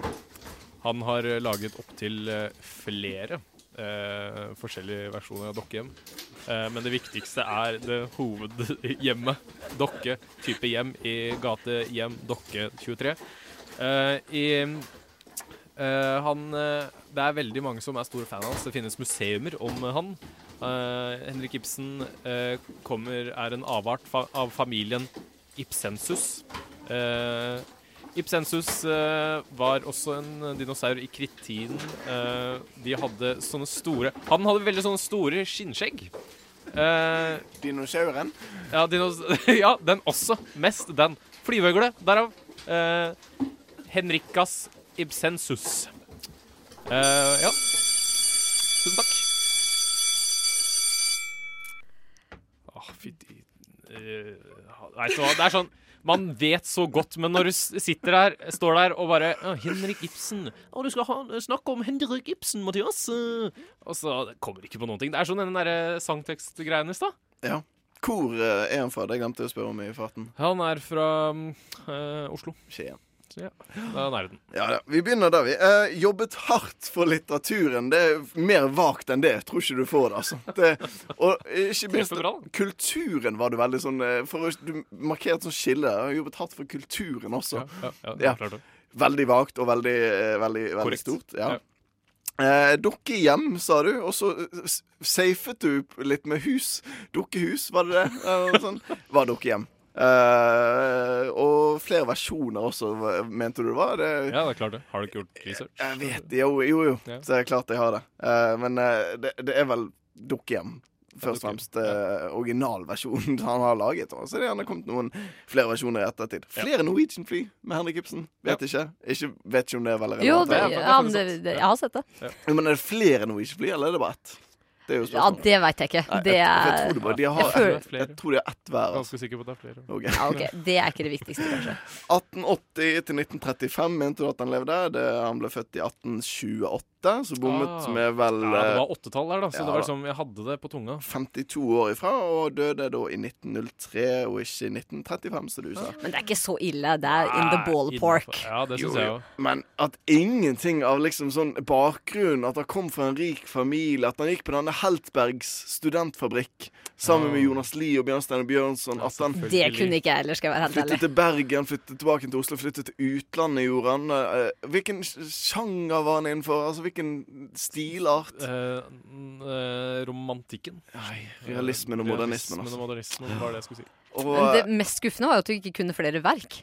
Speaker 13: Han har eh, laget opptil eh, flere eh, forskjellige versjoner av dokkehjem. Eh, men det viktigste er det hovedhjemmet. Dokke, type hjem i gate hjem, dokke 23. Eh, i, eh, han, eh, det er veldig mange som er store fan av hans. Det finnes museumer om eh, han. Eh, Henrik Ibsen eh, kommer, er en avart fa av familien Ibsensus. Eh, Ibsensus eh, var også en eh, dinosaur i krittiden. Eh, de hadde sånne store Han hadde veldig sånne store skinnskjegg. Eh,
Speaker 12: Dinosauren?
Speaker 13: Ja, dinos ja, den også. Mest den. Flyveøgle, derav. Eh, Henrikas Ibsensus. Eh, ja. Tusen takk. Åh, fytti eh, Nei, så det er sånn Man vet så godt, men når du s- sitter der, står der og bare «Å, Henrik Ibsen. Å, du skal ha, snakke om Henrik Ibsen, Mathias. Eh, Og så kommer det ikke på noen ting. Det er sånn den derre sangtekstgreien i stad.
Speaker 12: Ja. Hvor eh, er han fra? Det glemte jeg å spørre om i farten.
Speaker 13: Han er fra eh, Oslo.
Speaker 12: Skien.
Speaker 13: Ja, det er nærheten.
Speaker 12: Ja, ja. Vi begynner der, vi. Eh, jobbet hardt for litteraturen. Det er mer vagt enn det. Tror ikke du får det, altså. Det, og ikke minst kulturen var du veldig sånn eh, for, å- Du markerte sånn skille. der. Jeg har Jobbet hardt for kulturen også.
Speaker 13: Ja, ja, det er klart det.
Speaker 12: Veldig vagt og veldig, eh, veldig, veldig
Speaker 13: Korrekt.
Speaker 12: stort. Ja. Eh, Dukkehjem, sa du, og så eh, s- safet du p- litt med hus. Dukkehus, var det det? Eh, og sånn. Var dukkehjem. Eh, og flere versjoner også, hva- mente du det var? Det,
Speaker 13: Ja, det er klart det. Har du ikke gjort research?
Speaker 12: jeg vet det, jo, jo, jo.
Speaker 13: Ja.
Speaker 12: Så det er klart jeg har det. Eh, men eh, det, det er vel dukkehjem. Først og fremst eh, originalversjonen han har laget. Og så er det gjerne kommet noen flere versjoner i ettertid. Flere Norwegian-fly med Henrik Ibsen. Vet ikke. ikke. Vet ikke om det er veldig
Speaker 14: Jo,
Speaker 12: relevant,
Speaker 14: det,
Speaker 12: eller?
Speaker 14: ja, men det, det, jeg har sett det.
Speaker 12: Ja, Men er det flere Norwegian-fly, eller er det bare ett? Det er jo
Speaker 14: Ja,
Speaker 12: spørsmålet.
Speaker 14: det veit jeg ikke.
Speaker 12: Nei,
Speaker 14: Det
Speaker 12: jeg, for
Speaker 14: er
Speaker 12: jeg tror det bare, de
Speaker 14: jeg
Speaker 12: har,
Speaker 14: føler-
Speaker 12: jeg, tror det er ett hver.
Speaker 13: Ganske sikker på at det er flere.
Speaker 14: Ja, ok, Det er ikke det viktigste, kanskje.
Speaker 12: 1880 til 1935 mente du at han levde. Det, han ble født i 1828, så bommet
Speaker 13: Ah.
Speaker 12: med vel
Speaker 13: Ja, det var
Speaker 12: eh,
Speaker 13: åttetall der, da, så
Speaker 12: ja,
Speaker 13: det var
Speaker 12: da.
Speaker 13: liksom, jeg hadde det på tunga.
Speaker 12: 52 år ifra, og døde da i 1903, og ikke i 1935, som du sa.
Speaker 14: Men det er ikke så ille. Det er in the ballpark.
Speaker 12: Jo, jo. Men at ingenting av liksom sånn bakgrunnen, at han kom fra en rik familie, at han gikk på denne Heltbergs studentfabrikk sammen med Jonas Lie og Bjørnstein og Bjørnson at han
Speaker 14: Det kunne ikke jeg heller, skal jeg være helt
Speaker 12: Flyttet
Speaker 14: ærlig.
Speaker 12: til Bergen, flyttet tilbake til Oslo, flyttet til utlandet, gjorde han. Eh, Hvilken sj- sjanger var han innenfor? Altså, hvilken stilart?
Speaker 13: Eh, n- eh, romantikken.
Speaker 12: realismen og
Speaker 13: Eh, Realismen
Speaker 12: modernismen, altså.
Speaker 13: og modernismen var det jeg skulle si.
Speaker 14: Men det mest skuffende var jo at du ikke kunne flere verk.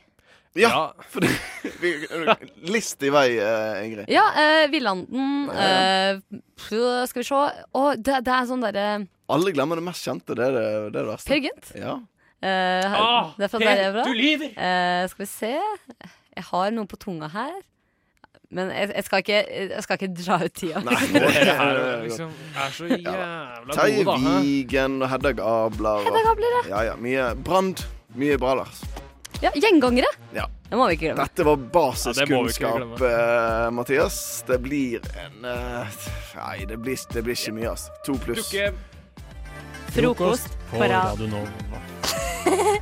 Speaker 12: Ja! For det, vi- list i vei, eh, Ingrid.
Speaker 14: Ja, eh, Villanden eh, pff, Skal vi se Å, det, det er sånn derre
Speaker 12: Alle glemmer det mest kjente. Det er det, det, er det verste.
Speaker 14: Peer Gynt?
Speaker 12: Ja.
Speaker 14: eh, her-
Speaker 12: Ah,
Speaker 14: det er fra
Speaker 12: Per,
Speaker 14: der jeg er fra.
Speaker 12: du lyver!
Speaker 14: Eh, skal vi se Jeg har noe på tunga her. Men jeg, jeg, skal ikke, jeg skal ikke dra ut tida.
Speaker 12: Nei, nå
Speaker 13: Det
Speaker 12: det
Speaker 13: her er
Speaker 12: godt.
Speaker 13: liksom- er så jævla
Speaker 12: da.
Speaker 13: gode,
Speaker 12: Terje
Speaker 13: da, hæ?
Speaker 12: Wigen og Hedda Gabler. og-
Speaker 14: Hedda Gabler, ja.
Speaker 12: ja, ja. Mye Brand. Mye bra, Lars.
Speaker 14: Ja, Gjengangere!
Speaker 12: Ja.
Speaker 14: Det må vi ikke glemme.
Speaker 12: Dette var
Speaker 13: Ja, det må vi ikke
Speaker 12: basiskunnskap, eh, Mathias. Det blir en eh, Nei, det blir, det blir ikke mye, altså. To pluss.
Speaker 13: Lukke
Speaker 14: Frokost på Radio
Speaker 13: Nova.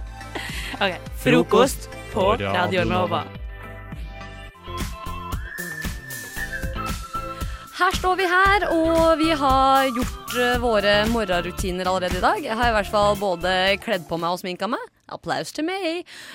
Speaker 14: Ok,
Speaker 13: Frokost
Speaker 14: på Radio Nova. Her står vi her, og vi har gjort eh, våre morgenrutiner allerede i dag. Jeg har i hvert fall både kledd på meg og sminka meg. Applaus til meg.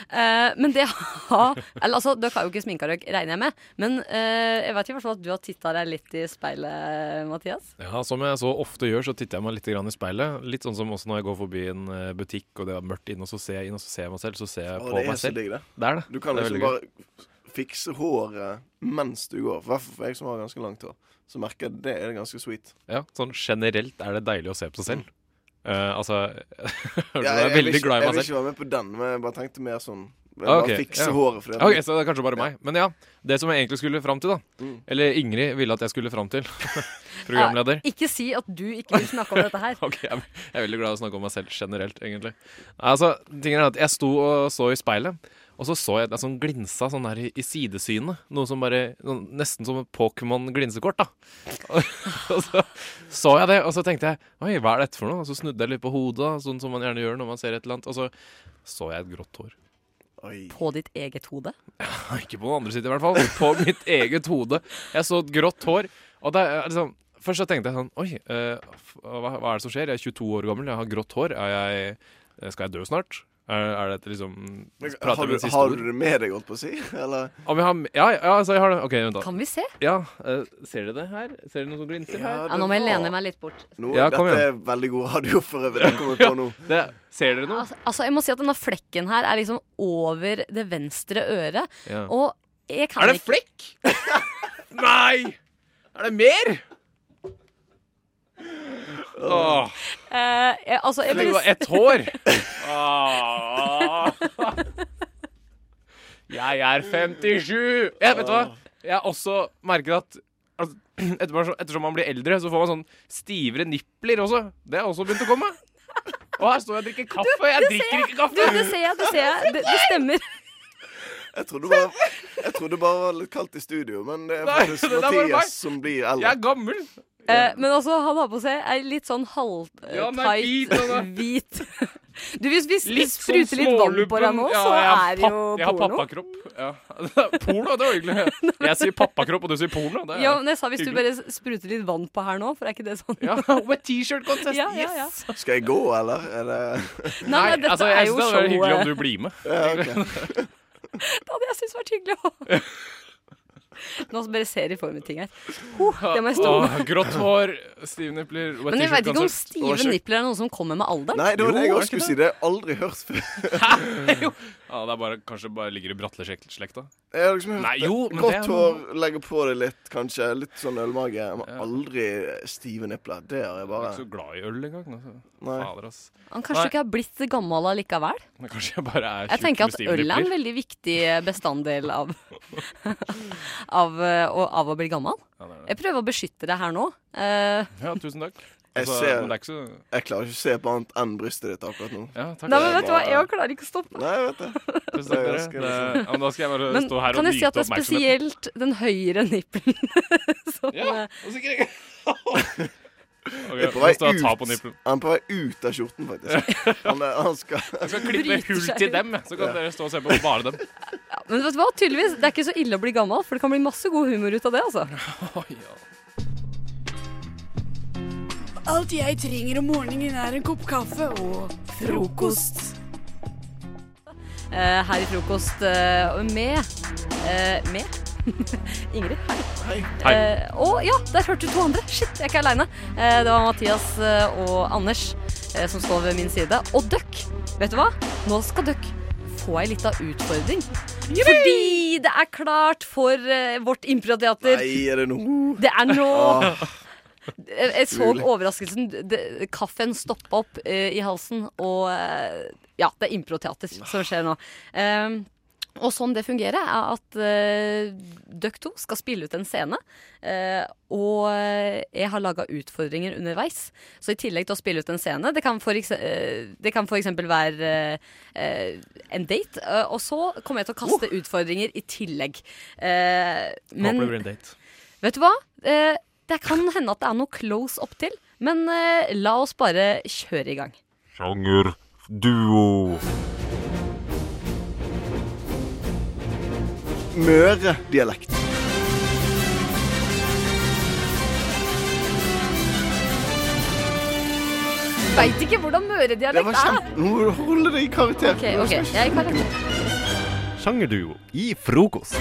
Speaker 14: Eh, men det har Eller altså, dere har jo ikke sminka dere, regner jeg med. Men eh, jeg vet i hvert fall at du har titta deg litt i speilet, Mathias.
Speaker 13: Ja, Som jeg så ofte gjør, så titter jeg meg litt grann i speilet. Litt sånn som også når jeg går forbi en eh, butikk og det er mørkt inne, og så ser jeg inn, og så ser jeg meg selv, så ser jeg
Speaker 12: Å,
Speaker 13: på
Speaker 12: det er
Speaker 13: meg
Speaker 12: så
Speaker 13: selv.
Speaker 12: digg, det.
Speaker 13: Det er det.
Speaker 12: Du kan
Speaker 13: det er
Speaker 12: liksom
Speaker 13: veldig gøy.
Speaker 12: bare fikse håret mens du går. I hvert fall for jeg som har ganske langt hår. Så merker jeg det er ganske sweet.
Speaker 13: Ja, sånn generelt er det deilig å se på seg selv. Eh, altså Hørte du
Speaker 12: Mm. Ja,
Speaker 13: jeg er
Speaker 12: vil
Speaker 13: veldig
Speaker 12: ikke-
Speaker 13: glad i
Speaker 12: Jeg
Speaker 13: meg
Speaker 12: vil
Speaker 13: selv.
Speaker 12: ikke være med på den, men jeg bare tenkte mer sånn
Speaker 13: Ah,
Speaker 12: Bare
Speaker 13: ok,
Speaker 12: fikse
Speaker 13: ja.
Speaker 12: håret. For det-
Speaker 13: Ok, Så det er kanskje bare meg. Men ja, det som jeg egentlig skulle fram til, da.
Speaker 12: Mm.
Speaker 13: Eller Ingrid ville at jeg skulle fram til. Programleder.
Speaker 14: Eh, ikke si at du ikke vil snakke om dette her.
Speaker 13: Ok, jeg, jeg er veldig glad i å snakke om meg selv generelt, egentlig. Nei, Altså, tingen er at Jeg sto og så i speilet, og så så jeg det sånn glinsa sånn der i, i sidesynet. Noe som bare noe, Nesten som et Pokémon-glinsekort, da. Og, og så så jeg det, og så tenkte jeg Oi, hva er dette for noe? Og så snudde jeg litt på hodet, sånn som man gjerne gjør når man ser et eller annet, og så så jeg et grått hår.
Speaker 14: På ditt eget hode.
Speaker 13: Ikke på den andre siden, i hvert fall. På mitt eget hode. Jeg så et grått hår. Og det er liksom Først så tenkte jeg sånn Oi, eh, f- hva, hva er det som skjer? Jeg er 22 år gammel, jeg har grått hår. Er jeg, eh, skal jeg dø snart? Er, er dette liksom Prater
Speaker 12: Har
Speaker 13: vi
Speaker 12: du,
Speaker 13: om siste
Speaker 12: har
Speaker 13: ord?
Speaker 12: du det med deg, holdt på å si? Eller?
Speaker 13: Om jeg har Ja, ja, altså, jeg har det. OK, vent, da.
Speaker 14: Kan vi se?
Speaker 13: Ja. eh, ser dere det her? Ser dere noe som glinser her?
Speaker 14: Ja, nå må jeg lene meg litt bort.
Speaker 12: Nå,
Speaker 13: Ja, kom
Speaker 12: dette er
Speaker 13: igjen.
Speaker 12: veldig god radio for øvrig. Det kommer jeg på nå.
Speaker 13: Det, ser dere noe?
Speaker 14: Altså, altså, jeg må si at denne flekken her er liksom over det venstre øret.
Speaker 13: Ja.
Speaker 14: Og jeg kan
Speaker 13: Er det
Speaker 14: ikke-
Speaker 13: flekk? Nei! Er det mer? Åh.
Speaker 14: Eh, jeg, altså, jeg
Speaker 13: Det
Speaker 14: bare-
Speaker 13: var ett hår! Ah. Jeg er 57! Jeg, vet du hva? Jeg har også merket at altså, ettersom, ettersom man blir eldre, så får man sånn stivere nipler også. Det har også begynt å komme. Og her står jeg og drikker kaffe.
Speaker 14: Du,
Speaker 13: Jeg
Speaker 14: det ser
Speaker 13: drikker
Speaker 14: jeg.
Speaker 13: ikke kaffe!
Speaker 14: Du, det ser jeg, det ser jeg. Det, det stemmer.
Speaker 12: Jeg trodde, bare, jeg trodde bare det var litt kaldt i studio, men det er
Speaker 13: Nei,
Speaker 12: faktisk
Speaker 13: det der var det meg.
Speaker 12: Mathias som blir eldre.
Speaker 13: Jeg er gammel.
Speaker 14: Eh, men altså, han har på seg ei litt sånn
Speaker 13: Ja, den er hvit,
Speaker 14: halvtight
Speaker 13: den
Speaker 14: hvit Du, hvis vi
Speaker 13: Litt
Speaker 14: litt,
Speaker 13: sånn
Speaker 14: spruter litt vann på deg nå,
Speaker 13: smålubben.
Speaker 14: så
Speaker 13: Ja,
Speaker 14: er
Speaker 13: jeg
Speaker 14: det
Speaker 13: har
Speaker 14: jo
Speaker 13: papp- Jeg har
Speaker 14: porno.
Speaker 13: pappakropp. Ja. Porno, det var hyggelig. Jeg sier pappakropp, og du sier porno. Det er
Speaker 14: Ja, men jeg sa hvis du
Speaker 13: hyggelig.
Speaker 14: bare spruter litt vann på her nå, for er ikke det sånn?
Speaker 13: Ja, Wet T-shirt contest,
Speaker 14: ja, ja, ja.
Speaker 12: Skal jeg gå, eller? Er det
Speaker 14: Nei, nei, dette
Speaker 13: altså,
Speaker 14: er
Speaker 13: jeg synes
Speaker 14: jo
Speaker 13: det hadde vært hyggelig om
Speaker 14: showet.
Speaker 13: du blir med.
Speaker 12: Ja, ok.
Speaker 14: Det hadde jeg syntes vært hyggelig òg. Nå bare ser jeg for meg ting her. Huh, det må jeg stå
Speaker 13: Åh,
Speaker 14: med.
Speaker 13: Grått hår, stive nipler wet
Speaker 14: Men jeg
Speaker 13: t-shirt
Speaker 14: vet ikke om
Speaker 13: konsert.
Speaker 14: stive nipler er noe som kommer med alderen.
Speaker 12: Nei, det var det jeg
Speaker 13: Jo, er
Speaker 12: også
Speaker 13: det ikke
Speaker 12: skulle si. Det har jeg aldri hørt før.
Speaker 13: Ja, det er bare, kanskje bare ligger i Bratle-slekta.
Speaker 12: Jeg har liksom hørt
Speaker 13: Nei,
Speaker 12: det.
Speaker 13: jo, men
Speaker 12: Godt
Speaker 13: det er-
Speaker 12: hår, legge på det litt, kanskje. Litt sånn ølmage. Men aldri stive nipler. Det har jeg
Speaker 13: Jeg
Speaker 12: bare
Speaker 13: er ikke så glad i øl engang. Altså.
Speaker 12: Nei.
Speaker 13: Fader, ass.
Speaker 14: Han kanskje ikke har blitt gammel allikevel.
Speaker 13: Men kanskje jeg bare er
Speaker 14: Jeg
Speaker 13: tjukk
Speaker 14: tenker
Speaker 13: med
Speaker 14: at
Speaker 13: stive
Speaker 14: øl er en
Speaker 13: nipler.
Speaker 14: veldig viktig eh, bestanddel av, av, eh, å- av å bli gammel.
Speaker 13: Ja, det er det.
Speaker 14: Jeg prøver å beskytte deg her nå. Eh,
Speaker 13: Ja, tusen takk.
Speaker 12: Jeg
Speaker 13: Altså,
Speaker 12: ser-
Speaker 13: men det er ikke så
Speaker 12: Jeg klarer ikke å se på annet enn brystet ditt akkurat nå.
Speaker 13: Ja, takk.
Speaker 14: nei, men vet du hva, jeg klarer ikke å stoppe.
Speaker 12: Nei, jeg vet det.
Speaker 13: Tusen takk, dere.
Speaker 12: ganske- liksom.
Speaker 13: Det, ja, men da skal jeg bare
Speaker 14: Men
Speaker 13: stå her og
Speaker 14: kan jeg si
Speaker 13: nyte
Speaker 14: at det er
Speaker 13: oppmerksomheten.
Speaker 14: spesielt den høyre nippelen som eh,
Speaker 13: Ok,
Speaker 12: Jeg er på
Speaker 13: nå står
Speaker 12: vei
Speaker 13: jeg og tar på
Speaker 12: ut.
Speaker 13: nippelen.
Speaker 12: Han er på vei ut av skjorten, faktisk. Han, er- han skal
Speaker 13: Jeg skal klippe
Speaker 14: Bryter
Speaker 13: hull
Speaker 14: seg
Speaker 13: til
Speaker 14: ut.
Speaker 13: dem, så kan dere stå og se på bare dem.
Speaker 14: ja, Men vet du hva, tydeligvis, det er ikke så ille å bli gammel, for det kan bli masse god humor ut av det, altså.
Speaker 15: Alt jeg trenger om morgenen er en kopp kaffe og frokost.
Speaker 14: Eh, her i frokost eh, og med eh, med Ingrid, hei.
Speaker 13: Hei.
Speaker 14: Eh, og ja, der hørte du to andre. Shit, jeg er ikke aleine. Eh, det var Mathias eh, og Anders eh, som står ved min side. Og døkk, vet du hva? Nå skal døkk få ei lita utfordring. Fordi det er klart for eh, vårt improteater.
Speaker 12: Nei, er det Ah. nå?
Speaker 14: Det er nå.
Speaker 12: Åh.
Speaker 14: Jeg jeg så
Speaker 12: Ulig.
Speaker 14: overraskelsen. Det- Kaffen stoppa opp eh, i halsen, og eh, Ja, det er improteater som skjer nå. Eh, Og sånn det fungerer, er at uh, dere to skal spille ut en scene. eh, og eh, jeg har laga utfordringer underveis. Så i tillegg til å spille ut en scene Det kan for, ekse- eh, det kan for eksempel være eh, eh, en date. eh, og så kommer jeg til å kaste utfordringer i tillegg. Eh,
Speaker 13: Oh!
Speaker 14: men-
Speaker 13: Håper det blir en date.
Speaker 14: Vet du hva? Eh, det kan hende at det er noe close opp til, men eh, la oss bare kjøre i gang.
Speaker 16: Sjanger duo.
Speaker 12: Møre-dialekt.
Speaker 14: Veit ikke hvordan
Speaker 12: Det var
Speaker 14: møredialekt er.
Speaker 12: kjempe... Nå holder det i karakter.
Speaker 14: Ok, ok, jeg kan
Speaker 16: Sjangerduo i frokost.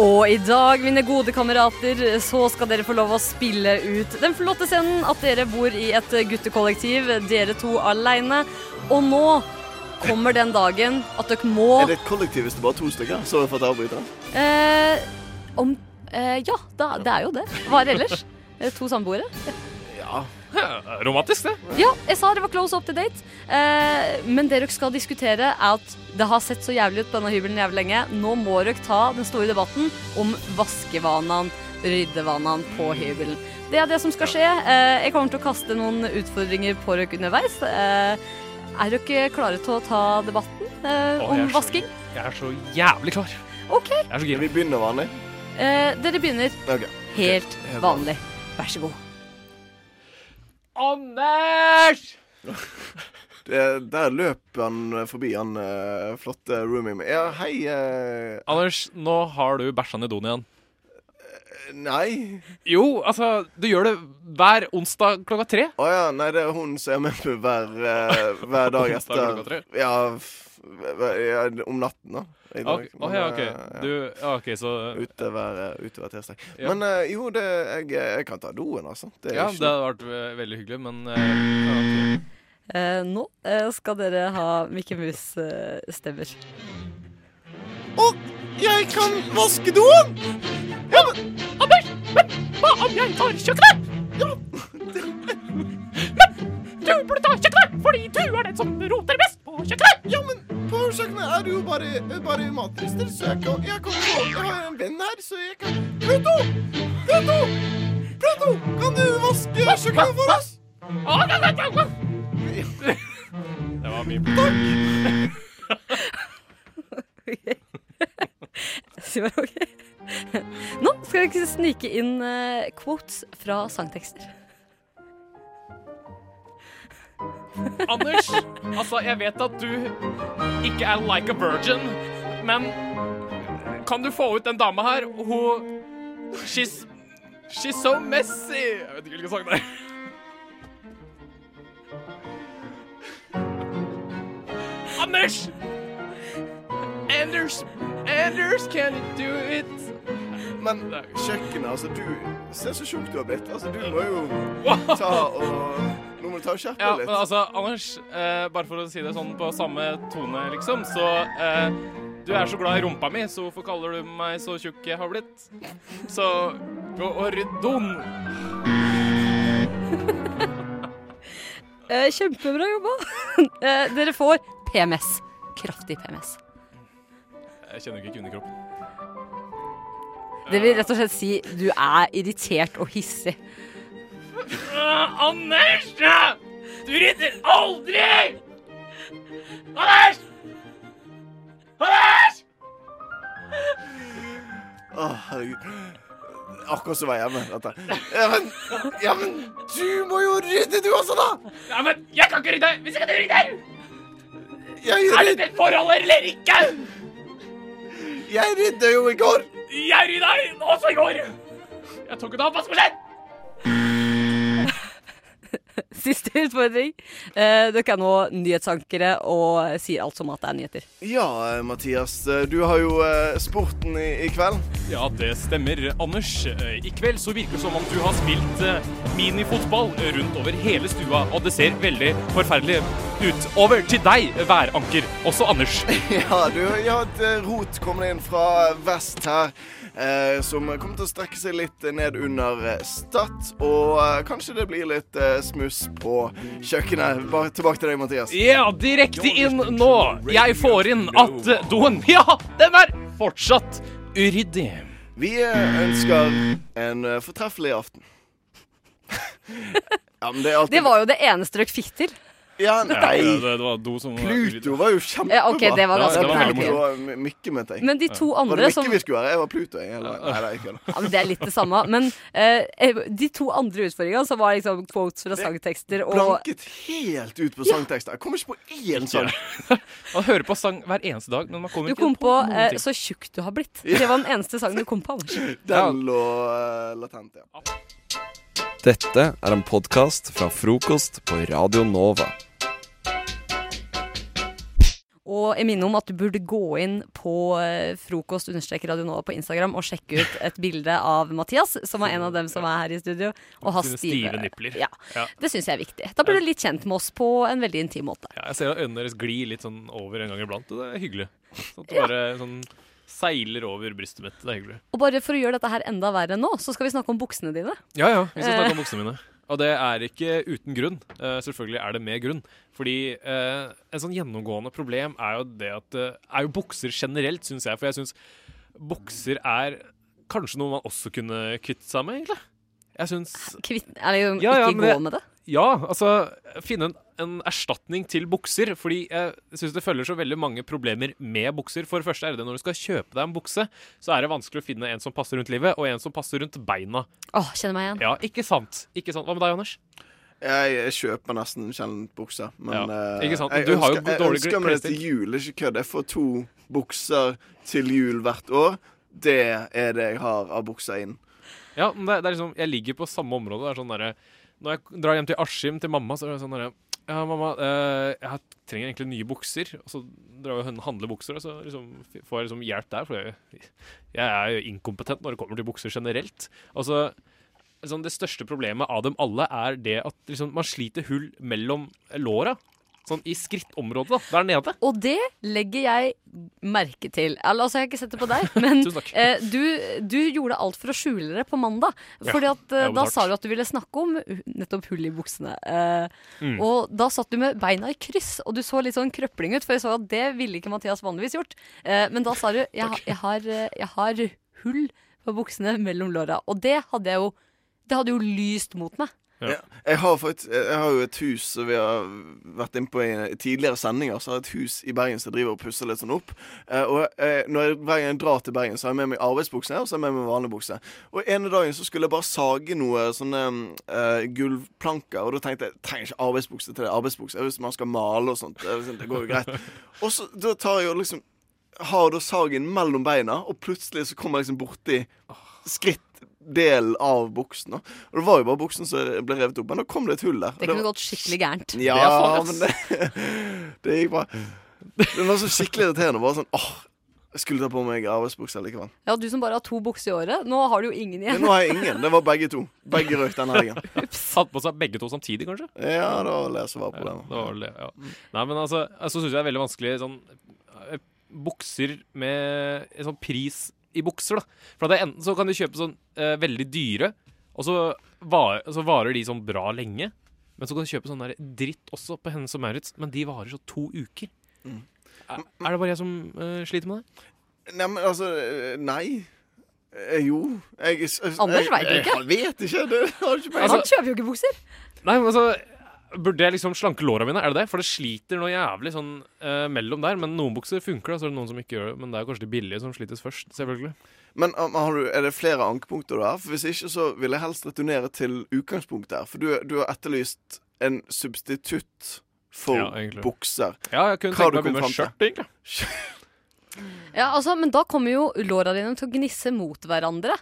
Speaker 14: Og i dag, mine gode kamerater, så skal dere få lov å spille ut den flotte scenen at dere bor i et guttekollektiv, dere to aleine. Og nå kommer den dagen at dere må
Speaker 12: Er det et kollektiv hvis det bare er to stykker? Sorry for at jeg avbryter.
Speaker 14: eh, om, eh, Ja, da, det er jo det. Hva er det ellers? Eh, To samboere?
Speaker 12: Ja.
Speaker 13: Romantisk, det.
Speaker 14: Ja, jeg sa det var close up to date. Eh, men det dere skal diskutere, er at det har sett så jævlig ut på denne hybelen jævlig lenge. Nå må dere ta den store debatten om vaskevanene, ryddevanene
Speaker 13: Mm.
Speaker 14: på hybelen. Det er det som skal skje. Eh, jeg kommer til å kaste noen utfordringer på dere underveis. Eh, er dere klare til å ta debatten eh,
Speaker 13: Å, jeg
Speaker 14: om
Speaker 13: er så-
Speaker 14: vasking?
Speaker 13: Jeg er så jævlig klar.
Speaker 14: OK.
Speaker 13: Jeg er så gira.
Speaker 12: Vi begynner vanlig.
Speaker 14: Eh, dere begynner
Speaker 12: Ok.
Speaker 14: helt vanlig. Vær så god.
Speaker 13: Anders!
Speaker 12: Det, der løp han forbi han eh, flotte roomien min. Ja, hei eh,
Speaker 13: Anders, nå har du bæsja ned doen igjen.
Speaker 12: eh, Nei.
Speaker 13: Jo, altså, du gjør det hver onsdag klokka tre.
Speaker 12: Å ja. Nei, det er hun som er med på hver, eh, hver dag
Speaker 13: Onsdag klokka
Speaker 12: etter
Speaker 13: tre?
Speaker 12: ja, f- ja, om natten, da. I
Speaker 13: Å
Speaker 12: dag. Men,
Speaker 13: ja, OK.
Speaker 12: eh,
Speaker 13: Du, ja, ok, så
Speaker 12: Ute hver, eh, ute hver tirsdag.
Speaker 13: Ja.
Speaker 12: Men eh, jo, det, jeg, jeg kan ta doen, altså. Det er
Speaker 13: Ja,
Speaker 12: ikke
Speaker 13: det hadde vært eh, veldig hyggelig, men eh, ja, ok.
Speaker 14: Eh, nå eh, skal dere ha Mikke Mus-stemmer.
Speaker 6: Og jeg kan vaske doen! Ja, men, Anders, men, hva om jeg tar kjøkkenet? Ja. Men du burde ta kjøkkenet, fordi du er den som roter mest på kjøkkenet.
Speaker 12: Ja, men på kjøkkenet er det jo bare, bare matlister, så jeg, kan, jeg, kan få, jeg har en venn her, så jeg kan Pluto! Pluto! Pluto, kan du vaske kjøkkenet for oss?
Speaker 13: Det var mye Takk!
Speaker 14: Si bare ok. Nå skal vi snike inn eh, quotes fra sangtekster.
Speaker 13: Anders, altså, jeg vet at du ikke er like a virgin, men kan du få ut den dama her? Hun She's She's so messy. Jeg vet ikke hvilken sang det er. Anders! Anders! Anders, can you do it?
Speaker 12: Men kjøkkenet, altså, du Se så tjukk du har blitt. Altså, du må jo ta og Nå må du ta og skjerpe
Speaker 13: Ja, men
Speaker 12: deg litt.
Speaker 13: altså, Anders, eh, bare for å si det sånn på samme tone, liksom, så eh, Du er så glad i rumpa mi, så hvorfor kaller du meg så tjukk jeg har blitt? Så gå og rydd doen.
Speaker 14: Eh, kjempebra jobba. Eh, dere får PMS. Kraftig PMS.
Speaker 13: Jeg kjenner ikke kvinnekroppen.
Speaker 14: Det vil rett og slett si du er irritert og hissig.
Speaker 6: Uh, Anders! Du rydder aldri! Anders! Anders!
Speaker 12: Å, herregud. Akkurat som jeg er hjemme. Dette. Ja, men, ja, men du må jo rydde, du også, da!
Speaker 6: Ja, men jeg kan ikke rydde hvis ikke du rydder!
Speaker 12: Jeg
Speaker 6: Er dette et forhold eller ikke?
Speaker 12: Jeg rydda jo i går.
Speaker 6: Jeg rydda også i går. Jeg tok ikke oppvaskmaskinen.
Speaker 14: Siste utfordring. Eh, dere er nå nyhetsankere og sier alt som at det er nyheter.
Speaker 12: Ja, eh, Mathias. eh, Du har jo eh, sporten i, i kveld.
Speaker 13: Ja, det stemmer, Anders. Eh, I kveld så virker det som om du har spilt eh, minifotball rundt over hele stua, og det ser veldig forferdelig ut. Over til deg, væranker. Også Anders.
Speaker 12: Ja, du, ja, et eh, rot kommer inn fra vest her. Eh, eh, som kommer til å strekke seg litt ned under eh, Stad. Og eh, kanskje det blir litt eh, smuss på kjøkkenet. Bare tilbake til deg, Mathias.
Speaker 13: Ja, direkte inn nå. Jeg får inn at eh, doen Ja, den er fortsatt uryddig.
Speaker 12: Vi eh, ønsker en eh, fortreffelig aften. ja, men det er alltid
Speaker 14: Det var jo det eneste dere fikk til.
Speaker 12: Ja,
Speaker 11: Ja,
Speaker 12: nei.
Speaker 11: det, det var do som var
Speaker 12: Pluto var jo kjempebra.
Speaker 14: Ja, ok, det var
Speaker 12: Ja,
Speaker 14: ganske
Speaker 12: det var
Speaker 14: bra.
Speaker 12: Pluto var my- mye med deg.
Speaker 14: Men de to andre
Speaker 12: Var det
Speaker 14: som-
Speaker 12: Mikke vi skulle være? Jeg var Pluto, jeg. Eller? Nei, det er ikke det.
Speaker 14: Ja, men Det er litt det samme. Men eh, de to andre utfordringene, som var liksom quotes fra sangtekster og
Speaker 12: Blanket helt ut på sangtekster. Jeg kommer ikke på én sang.
Speaker 13: Man hører på sang hver eneste dag, men man kommer
Speaker 14: Du
Speaker 13: ikke
Speaker 14: kom på
Speaker 13: noen
Speaker 14: eh,
Speaker 13: ting.
Speaker 14: 'Så tjukk du har blitt'. Det var den eneste sangen du kom på.
Speaker 12: Den lå eh, latent, ja.
Speaker 1: Dette er en podkast fra frokost på Radio Nova.
Speaker 14: Og jeg minner om at du burde gå inn på eh, frokost-radionova på Instagram og sjekke ut et bilde av Mathias, som er en av dem som er her i studio, og har
Speaker 13: Sine
Speaker 14: stive
Speaker 13: stive nippler.
Speaker 14: Ja.
Speaker 13: Ja.
Speaker 14: Det syns jeg er viktig. Da blir du litt kjent med oss på en veldig intim måte.
Speaker 13: Ja, jeg ser at øynene deres glir litt sånn over en gang iblant, og det er hyggelig. Sånn at det
Speaker 14: Ja.
Speaker 13: bare sånn seiler over brystet mitt. Det er hyggelig.
Speaker 14: Og bare for å gjøre dette her enda verre nå, så skal vi snakke om buksene dine.
Speaker 13: Ja, ja, vi skal snakke om
Speaker 14: Eh.
Speaker 13: buksene mine. Og det er ikke uten grunn. Eh, selvfølgelig er det med grunn. Fordi eh, en sånn gjennomgående problem er jo det at eh, Er jo bukser generelt, syns jeg. For jeg syns bukser er kanskje noe man også kunne kvitte seg med, egentlig. Jeg syns
Speaker 14: Kvitt, eller
Speaker 13: Ja, ja,
Speaker 14: ikke
Speaker 13: men
Speaker 14: gå med det.
Speaker 13: Ja, altså finne en, en erstatning til bukser. Fordi jeg syns det følger så veldig mange problemer med bukser. For det første er det når du skal kjøpe deg en bukse, så er det vanskelig å finne en som passer rundt livet, og en som passer rundt beina.
Speaker 14: Åh, kjenner meg igjen.
Speaker 13: Ja, ikke sant. Ikke sant. Hva med deg, Anders?
Speaker 12: Jeg kjøper nesten sjelden bukser. Men
Speaker 13: Ja,
Speaker 12: eh,
Speaker 13: ikke sant?
Speaker 12: jeg
Speaker 13: Du har jo
Speaker 12: ønsker, jeg
Speaker 13: dårlig
Speaker 12: ønsker meg det til jul, ikke kødd. Jeg får to bukser til jul hvert år. Det er det jeg har av bukser inn.
Speaker 13: Ja, men det, det er liksom, jeg ligger på samme område. Det er sånn derre- når jeg drar hjem til Askim til mamma, så er det sånn derre Ja, mamma, eh, jeg har- trenger egentlig nye bukser. Og så drar jeg og hun- handler bukser, og så liksom, f- får jeg liksom hjelp der. For jeg, jeg er jo inkompetent når det kommer til bukser generelt. Og så liksom, Det største problemet av dem alle er det at liksom, man sliter hull mellom låra. Sånn i skrittområdet, da. Der nede.
Speaker 14: Og det legger jeg merke til. Eller, altså, jeg har ikke sett det på deg, men eh, du, du gjorde alt for å skjule det på mandag.
Speaker 7: Ja,
Speaker 14: Fordi at eh,
Speaker 7: jeg
Speaker 14: da
Speaker 7: har betalt.
Speaker 14: sa du at du ville snakke om u- nettopp hull i buksene. Eh,
Speaker 7: Mm.
Speaker 14: Og da satt du med beina i kryss, og du så litt sånn krøpling ut, for jeg så at det ville ikke Mathias vanligvis gjort. Eh, men da sa du jeg, ha- jeg, har, eh, jeg har hull på buksene mellom låra. Og det hadde jeg jo Det hadde jo lyst mot meg.
Speaker 12: Ja. Jeg, har faktisk, jeg har jo et hus som vi har vært inne på i tidligere sendinger. Så har jeg et hus i Bergen som jeg driver og pusser litt sånn opp. Eh, og eh, når jeg, Hver gang jeg drar til Bergen, så har jeg med meg arbeidsbukse og så har jeg med meg vanlige bukse. Og ene dagen så skulle jeg bare sage noe sånne eh, gulvplanker, og da tenkte jeg trenger ikke arbeidsbukse til det. Arbeidsbukse hvis man skal male og sånt. eh, Det går jo greit. Og så da tar jeg jo liksom har da sagen mellom beina, og plutselig så kommer jeg liksom borti skrittdelen av buksen. da. Og det var jo bare buksen som ble revet opp, men da kom det et hull der. og
Speaker 14: Det kunne gått skikkelig gærent.
Speaker 12: Ja,
Speaker 14: Det er farlig, ass.
Speaker 12: men det, det gikk bra. Det var så skikkelig irriterende. Bare sånn åh, jeg skulle ta på meg arbeidsbukse likevel.
Speaker 14: Ja, du som bare har to bukser i året. Nå har du jo ingen
Speaker 12: Men
Speaker 14: igjen.
Speaker 12: nå har jeg ingen. Det var begge to. Begge røk denne helgen.
Speaker 13: Satt på seg begge to samtidig, kanskje?
Speaker 12: Ja, det var det som
Speaker 13: Ja,
Speaker 12: var problemet.
Speaker 13: det var vel det, ja. Nei, men altså, så synes jeg det er veldig vanskelig sånn eh, bukser med en sånn pris i bukser, da. For at det er enten så kan du kjøpe sånn eh, veldig dyre, og så, var, så varer de sånn bra lenge. Men så kan du kjøpe sånn der dritt også på Hennes og Maurits, men de varer så to uker.
Speaker 12: Mm.
Speaker 13: Er, er det bare jeg som eh, sliter med det?
Speaker 12: Nei, men altså eh, Nei. Eh, Jo. Jeg, jeg,
Speaker 13: Anders vet
Speaker 12: jeg-
Speaker 13: ikke.
Speaker 12: Jeg vet ikke. Det har ikke peiling.
Speaker 13: Altså-
Speaker 14: Han kjøper jo ikke bukser.
Speaker 13: Nei, men altså Burde jeg liksom slanke låra mine? Er det det? For det sliter noe jævlig sånn eh, mellom der. Men noen bukser funker, da, så er det noen som ikke gjør det. Men det er jo kanskje de billige som slites først, selvfølgelig.
Speaker 12: Men um, har du, er det flere ankepunkter du har? For Hvis ikke så vil jeg helst returnere til utgangspunktet her. For du, du har etterlyst en substitutt for
Speaker 13: Ja, egentlig.
Speaker 12: bukser.
Speaker 13: Ja, jeg kunne
Speaker 12: Hva
Speaker 13: tenkt meg å
Speaker 12: har du
Speaker 13: begynne med
Speaker 12: kommet fram
Speaker 13: skjørt, egentlig.
Speaker 14: Ja, altså, Men da kommer jo låra dine til å gnisse mot hverandre.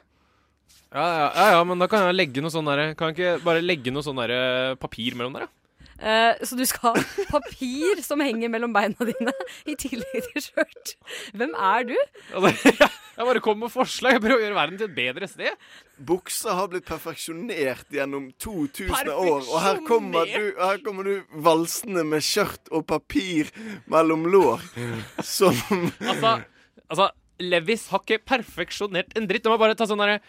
Speaker 13: Ja, ja, ja, ja, men da kan jeg legge noe sånn derre Kan jeg ikke bare legge noe sånn derre papir mellom dere?
Speaker 14: Eh, så du skal ha papir som henger mellom beina dine, i tillegg til skjørt. Hvem er du?
Speaker 13: Jeg bare kom med forslag. Jeg prøver å gjøre verden til et bedre sted.
Speaker 12: Bukser har blitt perfeksjonert gjennom 2000 år, og her kommer du, her kommer du valsende med skjørt og papir mellom lår. Som
Speaker 13: Altså, altså Levis har ikke perfeksjonert en dritt. De må bare ta sånn derre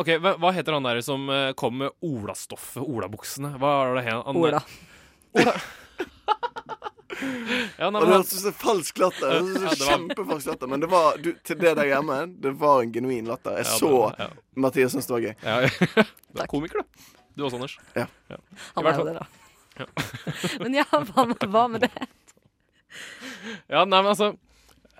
Speaker 13: OK, hva, hva heter han der som eh, kom med olastoffet, olabuksene? Hva er det han han-
Speaker 12: Ola.
Speaker 13: Ola. ja, nei,
Speaker 12: Og det
Speaker 13: men,
Speaker 12: hørtes ut som falsk latter. Det hørtes ut som
Speaker 13: Ja, det var-
Speaker 12: Kjempefalsk latter. Men det var, du, til det der hjemme, det var en genuin latter. Jeg
Speaker 13: Ja, det
Speaker 12: så
Speaker 13: var- ja.
Speaker 12: Mathias syntes det var gøy.
Speaker 13: du er komiker, du. Du også, Anders.
Speaker 12: Ja.
Speaker 13: I
Speaker 14: Han
Speaker 13: hvert
Speaker 14: er jo
Speaker 13: fall.
Speaker 14: det, da.
Speaker 13: Ja.
Speaker 14: Men ja, hva med, hva med det?
Speaker 13: Ja, nei, men altså,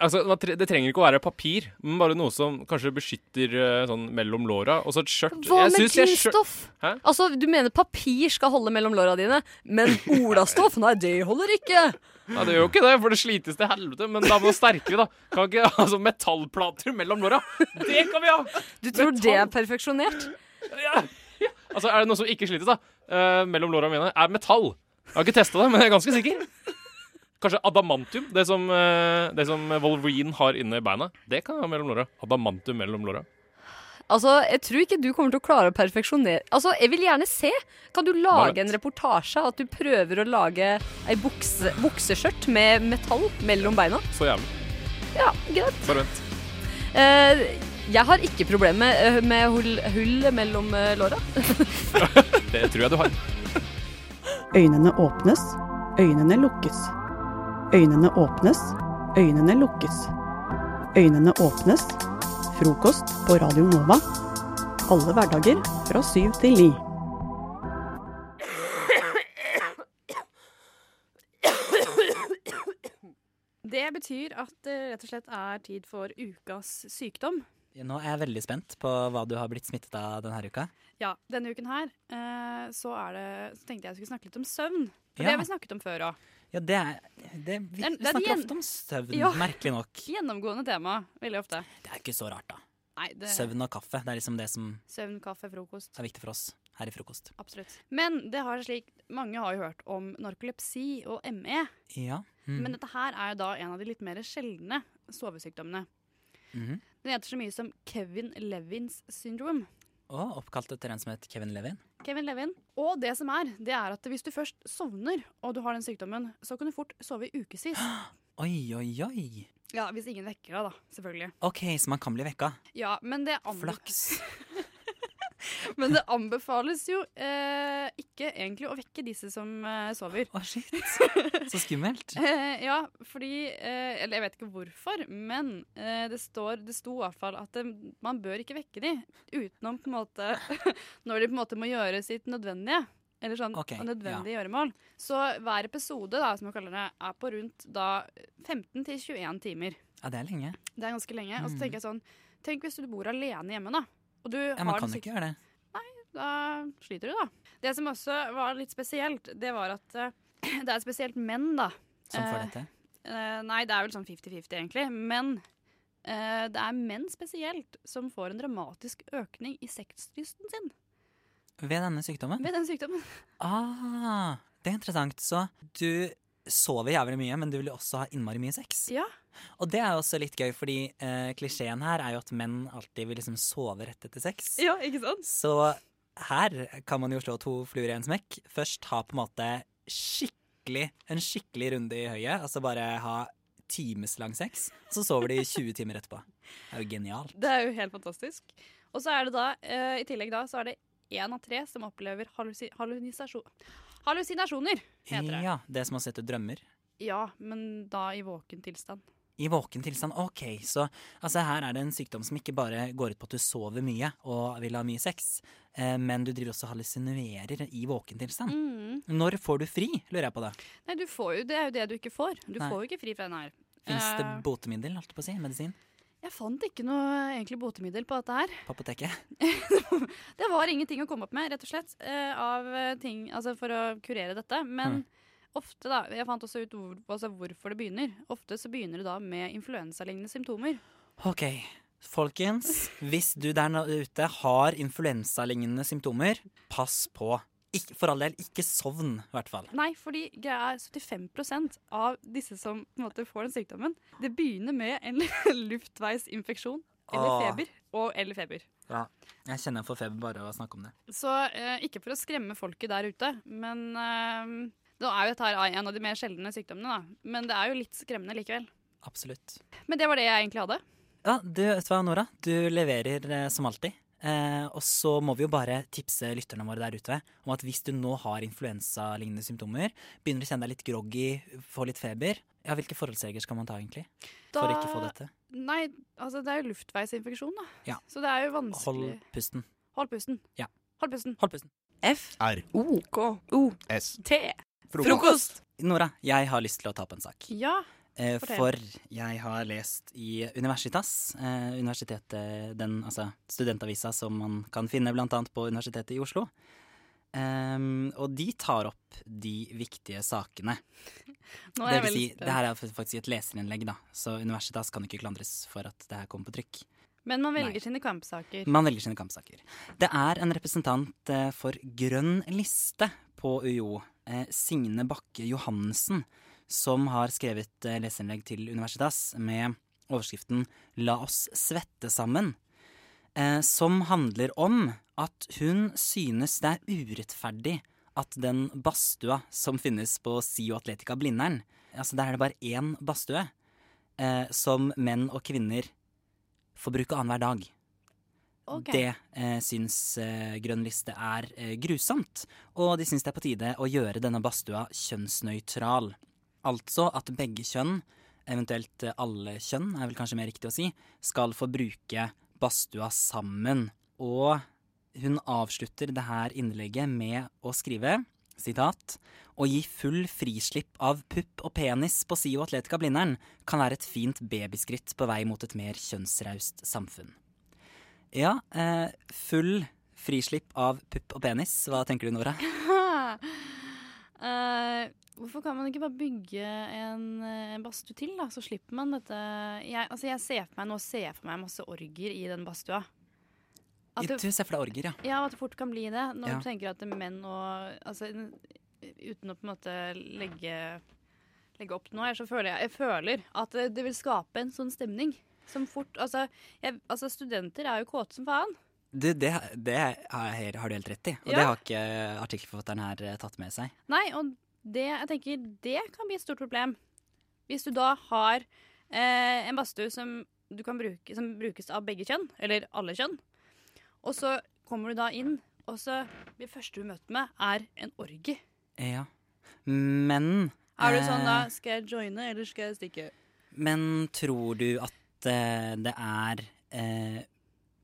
Speaker 13: altså man tre- Det trenger ikke å være papir, men bare noe som kanskje beskytter eh, sånn mellom låra. Og så et skjørt.
Speaker 14: Hva
Speaker 13: Jeg
Speaker 14: med
Speaker 13: synes jeg skjø-
Speaker 14: glinnstoff?
Speaker 13: Hæ?
Speaker 14: Altså, du mener papir skal holde mellom låra dine, men olastoff? Nei, det holder ikke.
Speaker 13: Nei, det gjør jo ikke det, for det slites til helvete. Men da må det sterkere, da. Kan ikke altså, metallplater mellom låra. Det kan vi ha!
Speaker 14: Du tror det er perfeksjonert?
Speaker 13: Altså, er det noe som ikke slites, da? eh, mellom låra mine? Er metall. Jeg har ikke testa det, men jeg er ganske sikker. Kanskje adamantium, det som, eh, det som Wolverine har inne i beina. Det kan jeg ha mellom låra. Adamantium mellom låra.
Speaker 14: Altså, Jeg tror ikke du kommer til å klare å perfeksjonere Altså, Jeg vil gjerne se. Kan du
Speaker 13: Hva vet?
Speaker 14: lage en reportasje av at du prøver å lage ei bukse, bukseskjørt med metall mellom beina?
Speaker 13: Så jævlig.
Speaker 14: Ja, greit.
Speaker 13: Bare vent.
Speaker 14: Eh, jeg har ikke problemer med, eh, med hull, hull mellom eh, låra.
Speaker 13: Det tror jeg du har.
Speaker 17: Øynene åpnes, øynene lukkes. Øynene åpnes, øynene lukkes. Øynene åpnes. Frokost på Radio Nova. Alle hverdager fra syv til ni.
Speaker 18: Det betyr at det rett og slett er tid for ukas sykdom.
Speaker 19: Nå er jeg veldig spent på hva du har blitt smittet av denne uka.
Speaker 18: Ja, denne uken her eh, så, er det, så tenkte jeg jeg skulle snakke litt om søvn. For
Speaker 19: Ja.
Speaker 18: Det har vi snakket om før òg.
Speaker 19: Ja, det er, det, vi, vi snakker ofte om søvn, merkelig nok.
Speaker 18: Gjennomgående tema, veldig ofte.
Speaker 19: Det er ikke så rart, da.
Speaker 18: Nei, det,
Speaker 19: Søvn og kaffe, det er liksom det som
Speaker 18: søvn, kaffe, frokost.
Speaker 19: er viktig for oss her i frokost.
Speaker 18: Absolutt. Men det har slik, mange har jo hørt om narkolepsi og ME.
Speaker 19: Ja. hmm,
Speaker 18: Men dette her er jo da en av de litt mer sjeldne sovesykdommene.
Speaker 19: Mhm.
Speaker 18: Den heter så mye som Kevin Levins syndrom.
Speaker 19: Og oppkalt etter en som het Kevin Levin.
Speaker 18: Kevin Levin. Og det som er, det er at hvis du først sovner og du har den sykdommen, så kan du fort sove i ukevis.
Speaker 19: Oi, oi, oi.
Speaker 18: Ja, hvis ingen vekker deg, da. Selvfølgelig.
Speaker 19: OK, så man kan bli vekka.
Speaker 18: Ja, men det anbe- men det anbefales jo eh, ikke egentlig å vekke disse som eh, sover.
Speaker 19: Å, shit. Så skummelt.
Speaker 18: Eh, ja, fordi eh, Eller jeg vet ikke hvorfor, men eh, det, står, det sto i hvert fall at eh, man bør ikke vekke de utenom på en måte Når de på en måte må gjøre sitt nødvendige. Eller sånn
Speaker 19: Ok,
Speaker 18: nødvendige gjøremål. Så hver episode da, som jeg kaller det, er på rundt da 15 til 21 timer.
Speaker 19: Ja, det er lenge.
Speaker 18: Det er ganske lenge. Og
Speaker 19: Mm.
Speaker 18: så tenker jeg sånn Tenk hvis du bor alene hjemme, da. Og du
Speaker 19: Ja, man
Speaker 18: har
Speaker 19: kan
Speaker 18: den
Speaker 19: jo
Speaker 18: syk-
Speaker 19: ikke gjøre det.
Speaker 18: da sliter du, da. Det som også var litt spesielt, det var at eh, det er spesielt menn, da.
Speaker 19: Som får
Speaker 18: Eh,
Speaker 19: dette.
Speaker 18: eh, nei, det er vel sånn 50-50, egentlig. Men eh, det er menn spesielt som får en dramatisk økning i sexlysten sin
Speaker 19: Ved denne sykdommen?
Speaker 18: ved den sykdommen.
Speaker 19: Ah, det er interessant. Så du sover jævlig mye, men du vil jo også ha innmari mye sex.
Speaker 18: Ja.
Speaker 19: Og det er jo også litt gøy, fordi eh, klisjeen her er jo at menn alltid vil liksom sove rett etter sex.
Speaker 18: Ja, ikke sant?
Speaker 19: Så her kan man jo slå to fluer i en smekk. Først ha på en måte skikkelig, en skikkelig runde i høyet, altså bare ha timeslang sex. Så sover de 20 timer etterpå. Det er jo genialt.
Speaker 18: Det er jo helt fantastisk. Og så er det da, eh, i tillegg da, så er det én av tre som opplever hallusi hallusinasjon... Hallusinasjoner, heter det.
Speaker 19: Ja, det som å sette drømmer.
Speaker 18: Ja, men da i våken tilstand.
Speaker 19: I våken tilstand. OK, så altså, her er det en sykdom som ikke bare går ut på at du sover mye og vil ha mye sex, eh, men du driver også og hallusinerer i våken tilstand.
Speaker 18: Mm.
Speaker 19: Når får du fri, lurer jeg på da.
Speaker 18: Nei, du får jo, det er jo det du ikke får. Du
Speaker 19: Nei.
Speaker 18: får jo ikke fri fra den her.
Speaker 19: Fins det
Speaker 18: Eh,
Speaker 19: botemiddel, holdt jeg på å si? Medisin?
Speaker 18: Jeg fant ikke noe eh, egentlig botemiddel på dette her.
Speaker 19: På apoteket?
Speaker 18: Det var ingenting å komme opp med, rett og slett, eh, av eh, ting, altså for å kurere dette. Men ofte, da Jeg fant også ut hvor, altså hvorfor det begynner. Ofte så begynner det da med influensalignende symptomer.
Speaker 19: OK. Folkens, hvis du der nå- ute har influensalignende symptomer, pass på. Ikk- for all del, ikke sovn, i hvert fall.
Speaker 18: Nei, fordi greia er 75 av disse som på en måte får den sykdommen, det begynner med en luftveisinfeksjon eller
Speaker 19: Åh.
Speaker 18: feber. Og eller feber.
Speaker 19: Ja. Jeg kjenner jeg får feber bare av å snakke om det.
Speaker 18: Så eh, ikke for å skremme folket der ute, men eh, Nå er jo dette her en av de mer sjeldne sykdommene, da. Men det er jo litt skremmende likevel.
Speaker 19: Absolutt.
Speaker 18: Men det var det jeg egentlig hadde.
Speaker 19: Ja, du, vet du hva, Nora? Du leverer eh, som alltid. Eh, og så må vi jo bare tipse lytterne våre der ute om at hvis du nå har influensalignende symptomer, begynner å kjenne deg litt groggy, får litt feber, ja, hvilke forholdsregler skal man ta egentlig? For å ikke få dette?
Speaker 18: Nei, altså det er jo luftveisinfeksjon, da.
Speaker 19: Ja.
Speaker 18: Så det er jo
Speaker 19: Hold
Speaker 18: vanskelig
Speaker 19: pusten.
Speaker 18: Hold pusten.
Speaker 19: Ja.
Speaker 18: Hold pusten.
Speaker 19: Hold pusten.
Speaker 20: F.
Speaker 19: R.
Speaker 20: O. K. O.
Speaker 19: S.
Speaker 20: T.
Speaker 19: Nora, jeg har lyst til å ta opp en sak.
Speaker 18: Ja,
Speaker 19: Eh,
Speaker 18: fortell.
Speaker 19: for jeg har lest i Universitas, eh, universitetet, den altså studentavisa som man kan finne blant annet på Universitetet i Oslo. Ehm, og de tar opp de viktige sakene.
Speaker 20: Nå er jeg
Speaker 19: det vil
Speaker 20: veldig
Speaker 19: si,
Speaker 20: spent.
Speaker 19: det her er faktisk et leserinnlegg, da, så Universitas kan ikke klandres for at det her kom på trykk.
Speaker 18: Men man velger sine kampsaker.
Speaker 19: Man velger sine kampsaker. Det er en representant eh, for Grønn liste på UiO, eh, Signe Bakke Johannessen, som har skrevet eh, leserinnlegg til Universitas med overskriften 'La oss svette sammen', eh, som handler om at hun synes det er urettferdig at den badstua som finnes på SIO Atletica Blindern, altså der er det bare én badstue, eh, som menn og kvinner får bruke annenhver dag.
Speaker 20: Ok.
Speaker 19: Det eh, syns eh, Grønn liste er eh, grusomt, og de syns det er på tide å gjøre denne badstua kjønnsnøytral. Altså at begge kjønn, eventuelt eh, alle kjønn er vel kanskje mer riktig å si, skal få bruke badstua sammen. Og hun avslutter det her innlegget med å skrive sitat, å gi full frislipp av pupp og penis på SIO Atletica Blindern kan være et fint babyskritt på vei mot et mer kjønnsraust samfunn. Ja, eh, full frislipp av pupp og penis. Hva tenker du, Nora?
Speaker 18: Eh, hvorfor kan man ikke bare bygge en, eh, en badstue til, da? Så slipper man dette jeg, altså, jeg ser for meg nå ser jeg for meg masse orger i den badstua. At
Speaker 19: Du ser for deg orger, ja.
Speaker 18: Ja, og at det fort kan bli det. Når
Speaker 19: Ja.
Speaker 18: du tenker at menn og Altså n- uten å på en måte legge, legge opp til noe her, så føler jeg, jeg føler at det- det vil skape en sånn stemning. Som fort Altså, jeg, altså studenter er jo kåte som faen.
Speaker 19: Du, det, det har jeg- har du helt rett i, og
Speaker 18: Ja.
Speaker 19: det har ikke artikkelforfatteren her eh, tatt med seg.
Speaker 18: Nei, og det, jeg tenker, det kan bli et stort problem. Hvis du da har eh, en badstue som, du kan bruke, som brukes av begge kjønn, eller alle kjønn, og så kommer du da inn, og så det første du møter med, er en orgie.
Speaker 19: Ja. Men
Speaker 18: Er du sånn da
Speaker 19: eh,
Speaker 18: Skal jeg joine, eller skal jeg stikke?
Speaker 19: Men tror du at eh, det er eh,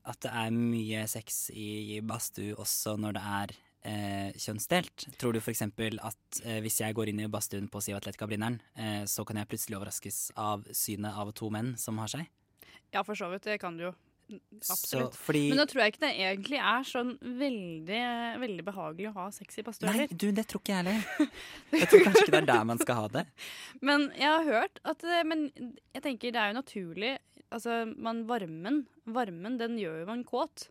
Speaker 19: At det er mye sex i, i badstue også når det er eh, kjønnsdelt? Tror du f.eks. at eh, hvis jeg går inn i badstuen på Siv Atletica Blindern, eh, så kan jeg plutselig overraskes av synet av to menn som har seg?
Speaker 18: Ja, for så vidt. Det kan du jo. Absolutt.
Speaker 19: Så, fordi-
Speaker 18: Men da tror jeg ikke det egentlig er sånn veldig, veldig behagelig å ha sex i badstue
Speaker 19: Nei,
Speaker 18: heller.
Speaker 19: du, det tror ikke jeg heller. Jeg tror kanskje ikke det er der man skal ha det.
Speaker 18: Men jeg har hørt at eh, Men jeg tenker det er jo naturlig Altså, man varmen Varmen, den gjør jo man kåt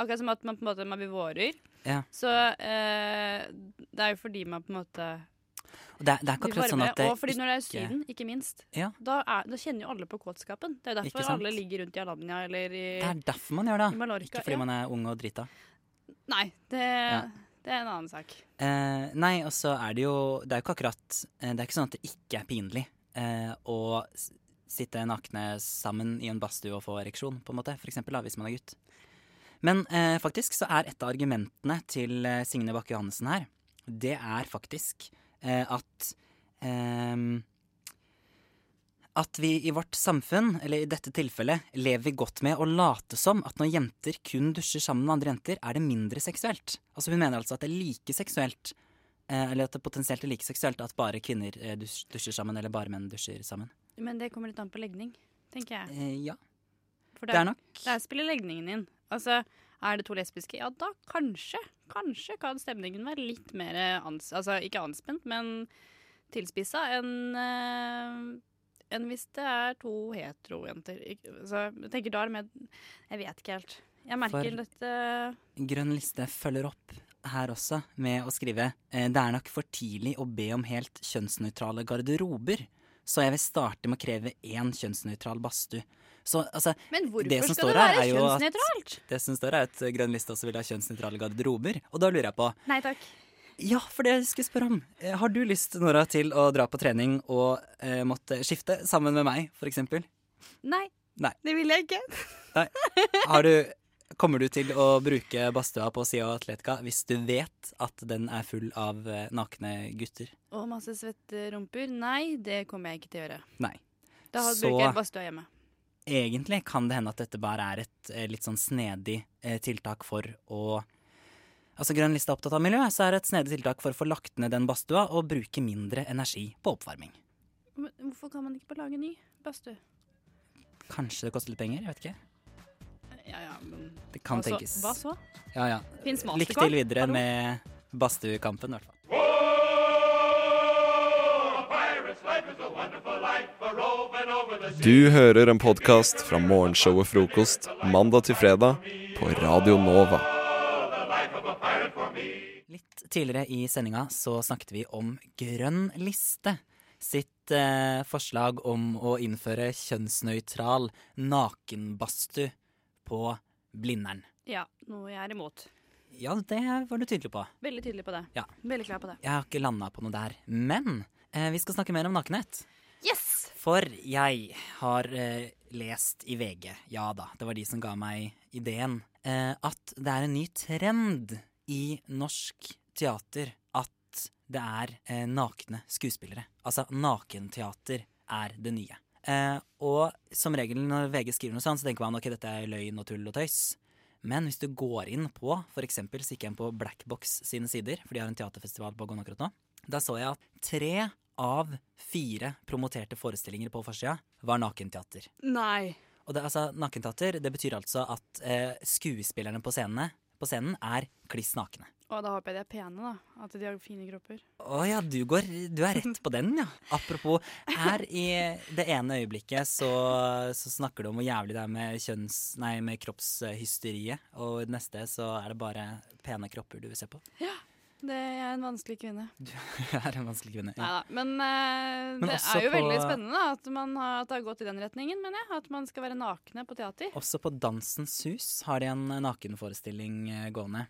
Speaker 18: Akkurat som at man på en måte Man blir vårer
Speaker 19: Ja.
Speaker 18: Så eh, det er jo fordi man på en måte
Speaker 19: Og det, er- det er ikke
Speaker 18: blir
Speaker 19: akkurat sånn
Speaker 18: varmere.
Speaker 19: at det
Speaker 18: Og fordi når det er
Speaker 19: ikke-
Speaker 18: syden, ikke minst
Speaker 19: Ja.
Speaker 18: da, er, da kjenner jo alle på kåtskapen Det er jo
Speaker 19: Ikke
Speaker 18: derfor
Speaker 19: sant?
Speaker 18: alle ligger rundt i Alanya Eller i
Speaker 19: Det er derfor man gjør det.
Speaker 18: I Mallorca,
Speaker 19: ikke fordi
Speaker 18: ja.
Speaker 19: man er ung og drita.
Speaker 18: Nei, det,
Speaker 19: Ja.
Speaker 18: det er en annen sak
Speaker 19: Eh, nei, og så er det jo Det er jo ikke akkurat eh, Det er ikke sånn at det ikke er pinlig eh, å s- sitte nakne sammen i en badstue og få ereksjon, på en måte, for eksempel, da, hvis man er gutt. Men eh, faktisk så er et av argumentene til eh, Signe Bakke Johansen her, det er faktisk eh, at ehm, at vi i vårt samfunn, eller i dette tilfellet, lever godt med å late som at når jenter kun dusjer sammen med andre jenter, er det mindre seksuelt. Altså Hun mener altså at det er like seksuelt, eh, eller at det potensielt er like seksuelt at bare kvinner eh, dus- dusjer sammen, eller bare menn dusjer sammen. Eh,
Speaker 18: Men det kommer litt an på legning, tenker jeg.
Speaker 19: ja.
Speaker 18: For
Speaker 19: Det er nok.
Speaker 18: Der spiller legningen inn. Altså, er det to lesbiske? Ja, da kanskje. Kanskje kan stemningen være litt mer ans altså, ikke anspent, men tilspissa enn eh, enn hvis det er to heterojenter. Ik- Altså, jeg tenker da er det mer Jeg vet ikke helt. Jeg merker eh,
Speaker 19: For-
Speaker 18: dette
Speaker 19: Grønn liste følger opp her også med å skrive eh, Det er nok for tidlig å be om helt kjønnsnøytrale garderober, så jeg vil starte med å kreve én kjønnsnøytral badstue. Så altså
Speaker 18: Men hvorfor
Speaker 19: som
Speaker 18: skal
Speaker 19: står
Speaker 18: det
Speaker 19: her
Speaker 18: være
Speaker 19: er jo at-
Speaker 18: kjønnsnøytralt?
Speaker 19: Det som står her er at Grønn liste også vil ha kjønnsnøytrale garderober, og da lurer jeg på
Speaker 18: Nei takk.
Speaker 19: Ja, for det jeg skulle spørre om. eh, Har du lyst, Nora, til å dra på trening og eh, måtte skifte sammen med meg, for eksempel?
Speaker 18: Nei.
Speaker 19: Nei.
Speaker 21: Det vil jeg ikke.
Speaker 19: Nei. Har du, kommer du til å bruke badstua på sida av Atletica hvis du vet at den er full av eh, nakne gutter?
Speaker 18: Og masse svette rumper. Nei, det kommer jeg ikke til å gjøre.
Speaker 19: Nei.
Speaker 18: Da har-
Speaker 19: Så-
Speaker 18: bruker jeg badstua hjemme.
Speaker 19: Egentlig kan det hende at dette bare er et eh, litt sånn snedig eh, tiltak for å Altså Grønn liste er opptatt av miljø, så er det et snedig tiltak for å få lagt ned den badstua og bruke mindre energi på oppvarming.
Speaker 18: Men hvorfor kan man ikke bare lage en ny badstue?
Speaker 19: Kanskje det koster litt penger, jeg vet ikke.
Speaker 18: Ja, ja, men
Speaker 19: Det kan
Speaker 18: Altså,
Speaker 19: tenkes.
Speaker 18: Hva så?
Speaker 19: Ja, ja.
Speaker 18: Fins
Speaker 19: Lykke
Speaker 18: Mastercard?
Speaker 19: til videre
Speaker 18: Hallo?
Speaker 19: med badstuekampen, i hvert fall.
Speaker 1: Du hører en podkast fra morgenshowet Frokost mandag til fredag på Radio Nova.
Speaker 19: Litt tidligere i sendinga så snakket vi om Grønn liste sitt eh, forslag om å innføre kjønnsnøytral nakenbadstue på Blindern.
Speaker 18: Ja, noe jeg er imot.
Speaker 19: Ja, det var du tydelig på.
Speaker 18: Veldig tydelig på det.
Speaker 19: Ja.
Speaker 18: Veldig klar på det.
Speaker 19: Jeg har ikke landa på noe der. Men eh, vi skal snakke mer om nakenhet.
Speaker 18: Yes!
Speaker 19: For jeg har eh, lest i VG, ja da, det var de som ga meg ideen, eh, at det er en ny trend i norsk teater at det er eh, nakne skuespillere. Altså nakenteater er det nye. Eh, og som regel når VG skriver noe sånt, så tenker man ok, dette er løgn og tull og tøys. Men hvis du går inn på f.eks. så gikk jeg inn på Blackbox sine sider, for de har en teaterfestival på Gån akkurat nå. Da så jeg at tre av fire promoterte forestillinger på forsida var nakenteater.
Speaker 18: Nei.
Speaker 19: Og det, altså, nakenteater det betyr altså at eh, skuespillerne på, scenene, på scenen er kliss nakne.
Speaker 18: Og da håper jeg de er pene, da. At de har fine kropper.
Speaker 19: Å ja, du, går, du er rett på den, ja. Apropos, her i det ene øyeblikket så, så snakker du om hvor jævlig det er med, kjønns, nei, med kroppshysteriet, og i det neste så er det bare pene kropper du vil se på.
Speaker 18: Det jeg er en vanskelig kvinne.
Speaker 19: Jeg er en vanskelig kvinne.
Speaker 18: Nei
Speaker 19: Ja.
Speaker 18: da. Men, eh,
Speaker 19: Men
Speaker 18: det
Speaker 19: også
Speaker 18: er jo veldig
Speaker 19: på-
Speaker 18: spennende da, at, man har, at det har gått i den retningen, mener jeg. At man skal være nakne på teater.
Speaker 19: Også på Dansens Hus har de en nakenforestilling eh, gående.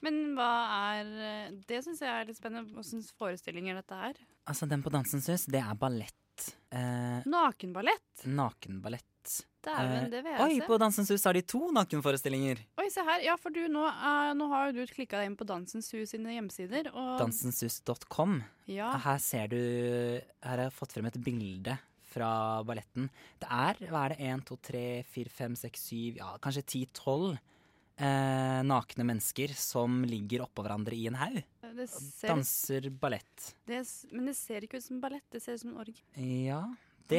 Speaker 18: Men hva er eh, Det syns jeg er litt spennende. Hvilke forestillinger dette er.
Speaker 19: Altså, den på Dansens Hus, det er ballett. Eh,
Speaker 18: Nakenballett.
Speaker 19: nakenballett. Eh,
Speaker 18: Dæven, det vil jeg
Speaker 19: oi,
Speaker 18: se.
Speaker 19: på Dansens Hus har de to nakenforestillinger.
Speaker 18: Oi, se her. Ja, for du, nå, eh, nå har jo du klikka deg inn på Dansens Hus sine hjemmesider. Og
Speaker 19: Dansenshus.com.
Speaker 18: Ja.
Speaker 19: Her ser du Her har jeg fått frem et bilde fra balletten. Det er, hva er det, 1, 2, 3, 4, 5, 6, 7, ja, kanskje 10-12 eh, nakne mennesker som ligger oppå hverandre i en haug.
Speaker 18: det ser,
Speaker 19: Danser ballett.
Speaker 18: det, s- men det ser ikke ut som ballett, det ser ut som en org.
Speaker 19: Ja.
Speaker 18: Men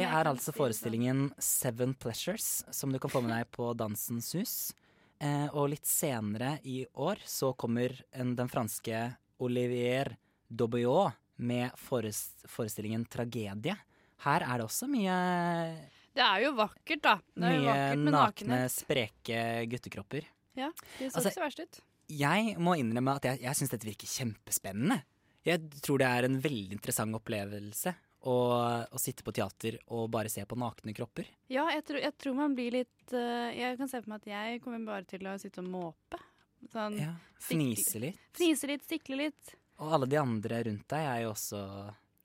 Speaker 19: Det
Speaker 18: jeg
Speaker 19: er
Speaker 18: kan
Speaker 19: altså
Speaker 18: si det sånn.
Speaker 19: forestillingen Seven Pleasures, som du kan få med deg på Dansens Hus. Eh, og litt senere i år så kommer en, den franske Olivier Daubiot med forest, forestillingen Tragedie. Her er det også mye,
Speaker 18: Det er jo vakkert, da. Det er jo
Speaker 19: mye
Speaker 18: vakkert med
Speaker 19: nakne,
Speaker 18: nakenhet.
Speaker 19: spreke guttekropper.
Speaker 18: Ja, det så
Speaker 19: Altså,
Speaker 18: ikke så verst ut.
Speaker 19: Jeg må innrømme at jeg, jeg syns dette virker kjempespennende. Jeg tror det er en veldig interessant opplevelse å, å sitte på teater og bare se på nakne kropper.
Speaker 18: Ja, jeg tror, jeg tror man blir litt eh, Jeg kan se for meg at jeg kommer bare til å sitte og måpe. Sånn, stikle-
Speaker 19: Fnise litt.
Speaker 18: Fnise litt, stikle litt.
Speaker 19: Og alle de andre rundt deg er jo også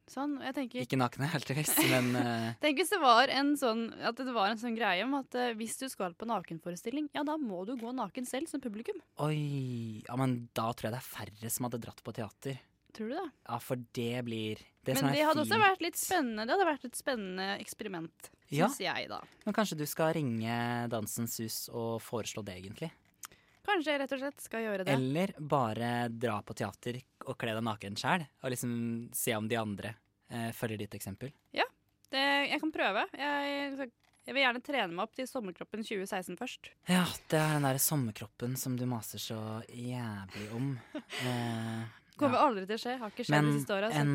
Speaker 18: Sånn. og Jeg tenker,
Speaker 19: ikke nakne, heldigvis, men eh,
Speaker 18: Tenk hvis det var en sånn At det var en sånn greie om at eh, hvis du skal på nakenforestilling, ja, da må du gå naken selv som publikum.
Speaker 19: Oi! Ja, men da tror jeg det er færre som hadde dratt på teater.
Speaker 18: Tror du det?
Speaker 19: Ja, for det blir det som
Speaker 18: Men
Speaker 19: er
Speaker 18: det hadde også
Speaker 19: fint-
Speaker 18: vært litt spennende. Det hadde vært et spennende eksperiment,
Speaker 19: Ja.
Speaker 18: syns jeg, da.
Speaker 19: Men kanskje du skal ringe Dansens Hus og foreslå det, egentlig?
Speaker 18: Kanskje jeg rett og slett skal gjøre det.
Speaker 19: Eller bare dra på teater og kle deg naken sjæl, og liksom se om de andre eh, følger ditt eksempel.
Speaker 18: Ja, det, jeg kan prøve. Jeg, altså, jeg vil gjerne trene meg opp til sommerkroppen 2016 først.
Speaker 19: Ja, det er den derre sommerkroppen som du maser så jævlig om. Eh,
Speaker 18: Kommer
Speaker 19: ja.
Speaker 18: aldri til å skje. Har ikke skjedd
Speaker 19: Men
Speaker 18: de siste åra.
Speaker 19: en,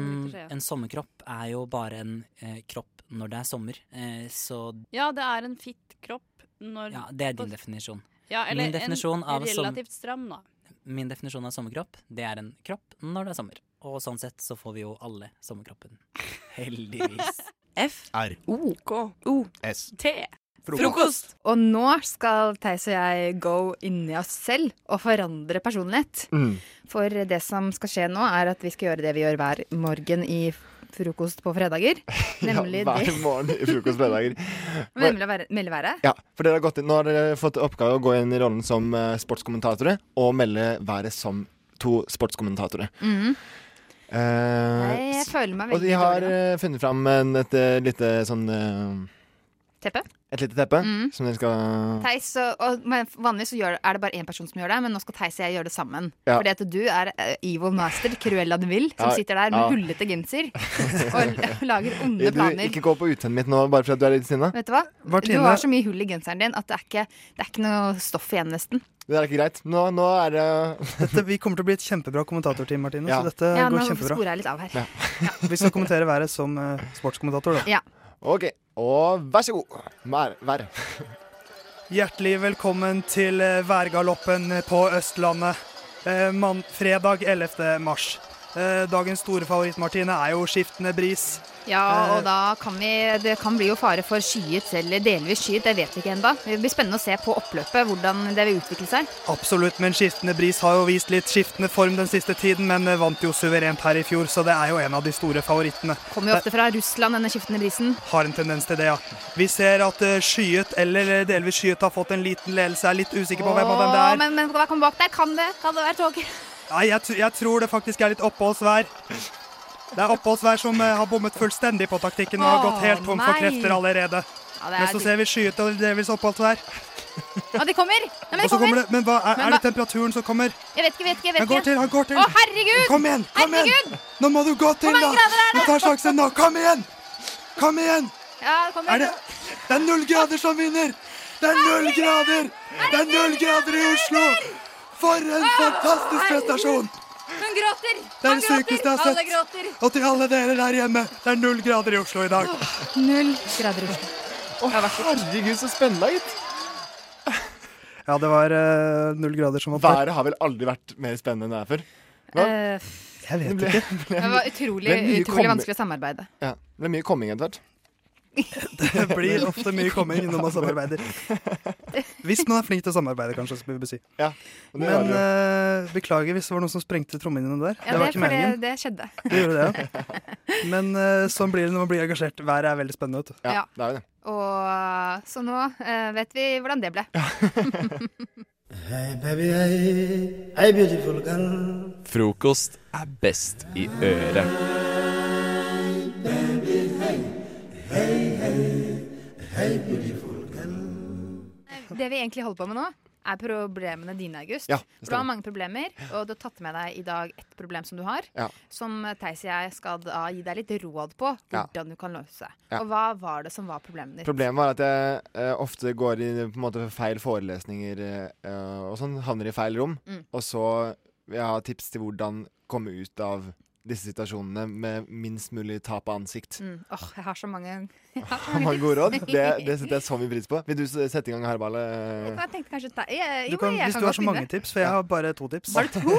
Speaker 19: en sommerkropp er jo bare en eh, kropp når det er sommer, eh, så
Speaker 18: Ja, det er en fitt kropp når
Speaker 19: ja, det er din definisjon.
Speaker 18: Ja, eller
Speaker 19: min, definisjon
Speaker 18: en
Speaker 19: av som,
Speaker 18: relativt stram, da.
Speaker 19: min definisjon av sommerkropp, det er en kropp når det er sommer. Og sånn sett så får vi jo alle sommerkroppen. Heldigvis.
Speaker 16: F-R-O-K-O-S.
Speaker 21: Te.
Speaker 16: Frokost.
Speaker 22: Og nå skal Theis og jeg go inni oss selv og forandre
Speaker 6: Mm.
Speaker 21: Mm.
Speaker 22: personlighet. For det som skal skje nå, er at vi skal gjøre det vi gjør hver morgen i frokost på fredager. Nemlig
Speaker 21: ja, hver
Speaker 22: det.
Speaker 21: morgen i frokost på fredager.
Speaker 22: Nemlig å være- melde været.
Speaker 21: Ja, for dere har gått inn, Nå har dere fått oppgave å gå inn i rollen som eh, sportskommentatorer og melde været som to sportskommentatorer.
Speaker 22: Mhm.
Speaker 21: Eh,
Speaker 22: Jeg føler meg
Speaker 21: og de
Speaker 22: veldig
Speaker 21: har
Speaker 22: dårlig.
Speaker 21: eh, funnet fram en, et, eh, lite sånn eh,
Speaker 22: Teppe.
Speaker 21: Et lite teppe
Speaker 22: Mhm.
Speaker 21: som dere skal
Speaker 22: Theis og, og men Vanligvis så gjør, er det bare én person som gjør det, men nå skal Theis og jeg gjøre det sammen.
Speaker 21: Ja.
Speaker 22: Fordi at du er eh, evil master Cruella de Vil, som
Speaker 21: Ja,
Speaker 22: sitter der med
Speaker 21: ja.
Speaker 22: hullete genser og l- lager onde
Speaker 21: du,
Speaker 22: planer.
Speaker 21: Ikke gå på utseendet mitt nå bare fordi du er litt sinna.
Speaker 22: Vet du hva?
Speaker 21: Martine.
Speaker 22: Du har så mye hull i genseren din at det er ikke, det er ikke noe stoff igjen, nesten.
Speaker 21: Det der er ikke greit. Nå, nå er det
Speaker 3: Dette, vi kommer til å bli et kjempebra kommentatorteam, Martine.
Speaker 21: Ja.
Speaker 3: Så dette
Speaker 22: Ja, nå
Speaker 3: går
Speaker 22: sporer
Speaker 3: kjempebra.
Speaker 22: jeg litt av her.
Speaker 3: Vi skal kommentere været som eh, sportskommentator, da.
Speaker 22: Ja.
Speaker 21: OK. Og vær så god. Vær. vær.
Speaker 3: Hjertelig velkommen til eh, værgaloppen på Østlandet. Eh, mann- fredag 11. mars. Eh, dagens store favoritt, Martine, er jo skiftende bris.
Speaker 22: Ja,
Speaker 3: Eh,
Speaker 22: og da kan vi Det kan bli jo fare for skyet eller delvis skyet, det vet vi ikke ennå. Det blir spennende å se på oppløpet hvordan det vil utvikle seg.
Speaker 3: Absolutt, men skiftende bris har jo vist litt skiftende form den siste tiden, men eh, vant jo suverent her i fjor, så det er jo en av de store favorittene.
Speaker 22: Kommer jo ofte fra Russland, denne skiftende brisen.
Speaker 3: Har en tendens til det, ja. Vi ser at eh, skyet, eller eh, delvis skyet, har fått en liten ledelse. Jeg er litt usikker på hvem av dem det
Speaker 22: Åh,
Speaker 3: er.
Speaker 22: Men, men hva kommer bak der? Kan det, kan det være toget?
Speaker 3: Nei, jeg, tr- jeg tror det faktisk er litt oppholdsvær. Det er oppholdsvær som eh, har bommet fullstendig på taktikken og har
Speaker 22: Åh,
Speaker 3: gått helt tom for
Speaker 22: nei.
Speaker 3: krefter allerede.
Speaker 22: Ja, det er
Speaker 3: Men så
Speaker 22: dypt.
Speaker 3: ser vi skyet og delvis oppholdsvær.
Speaker 22: Ja, det kommer! Nei,
Speaker 3: Og
Speaker 22: men det
Speaker 3: så kommer det, men hva, er,
Speaker 22: Men
Speaker 3: er det
Speaker 22: hva-
Speaker 3: temperaturen som kommer?
Speaker 22: Jeg vet ikke, vet ikke. jeg vet
Speaker 3: Han går
Speaker 22: ikke.
Speaker 3: til, han går til.
Speaker 22: Å, herregud!
Speaker 3: Kom igjen, kom igjen!
Speaker 22: herregud!
Speaker 3: Nå må du gå til,
Speaker 22: Hvor mange
Speaker 3: da!
Speaker 22: grader er
Speaker 3: Du
Speaker 22: det?
Speaker 3: tar sjansen nå. Kom igjen! Kom igjen!
Speaker 22: Ja, det kommer.
Speaker 3: Er det, det er null grader som vinner! Det er null grader! Det er null grader i Oslo! For en fantastisk prestasjon!
Speaker 22: Hun gråter!
Speaker 3: Det er det sykeste jeg har
Speaker 22: Alle
Speaker 3: sett.
Speaker 22: gråter!
Speaker 3: Og til alle dere der hjemme, det er null grader i Oslo i dag.
Speaker 22: Null grader i Oslo.
Speaker 21: Å, herregud, så spennende, gitt.
Speaker 3: Ja, det var eh, null grader som var
Speaker 21: Været har vel aldri vært mer spennende enn det er før?
Speaker 22: Eh,
Speaker 3: Jeg vet ikke.
Speaker 22: det var utrolig,
Speaker 21: Det er mye
Speaker 22: utrolig
Speaker 21: kommer-
Speaker 22: vanskelig å samarbeide.
Speaker 21: Ja, det ble mye komming etter hvert.
Speaker 3: Det blir ofte mye komming når man samarbeider. Hvis man er flink til å samarbeide, kanskje. Skal vi si.
Speaker 21: Ja, og det var
Speaker 3: Men
Speaker 21: det jo.
Speaker 3: eh, beklager hvis det var noen som sprengte trommehinnene der. det
Speaker 22: Ja,
Speaker 3: var
Speaker 22: det er
Speaker 3: ikke
Speaker 22: fordi
Speaker 3: meningen.
Speaker 22: det skjedde.
Speaker 3: Det gjorde det, ja. Men eh, sånn blir det når man blir engasjert. Været er veldig spennende. Vet du.
Speaker 22: Ja, Ja.
Speaker 21: det er jo det.
Speaker 22: Og så nå eh, vet vi hvordan det ble.
Speaker 23: Hey baby, hey, hey beautiful girl.
Speaker 1: Frokost er best i øret.
Speaker 22: Det vi egentlig holder på med nå, er problemene dine, August.
Speaker 21: Ja, det
Speaker 22: For du har
Speaker 21: stemmer.
Speaker 22: mange problemer, og du har tatt med deg i dag ett problem som du har.
Speaker 21: Ja.
Speaker 22: Som eh, Theis og jeg skal da gi deg litt råd på
Speaker 21: Ja.
Speaker 22: hvordan du kan løse.
Speaker 21: Ja.
Speaker 22: Og hva var det som var problemet ditt?
Speaker 21: Problemet var at jeg eh, ofte går i på en måte, feil forelesninger eh, og sånn. Havner i feil rom.
Speaker 22: Mm.
Speaker 21: Og så vil jeg ha tips til hvordan komme ut av disse situasjonene med minst mulig tap av ansikt.
Speaker 22: Mm. Åh, jeg har så mange, jeg har så
Speaker 21: Har man
Speaker 22: tips.
Speaker 21: gode råd? Det, det setter jeg så mye pris på. Vil du s- sette i gang eh? herballet?
Speaker 22: Jeg tenkte kanskje Theis jeg-
Speaker 3: Du
Speaker 22: Eh, Jo,
Speaker 3: kan,
Speaker 22: jeg
Speaker 3: hvis
Speaker 22: kan
Speaker 3: du har
Speaker 22: godt
Speaker 3: så
Speaker 22: begynne.
Speaker 3: mange tips, for jeg har bare to tips.
Speaker 22: Har du to?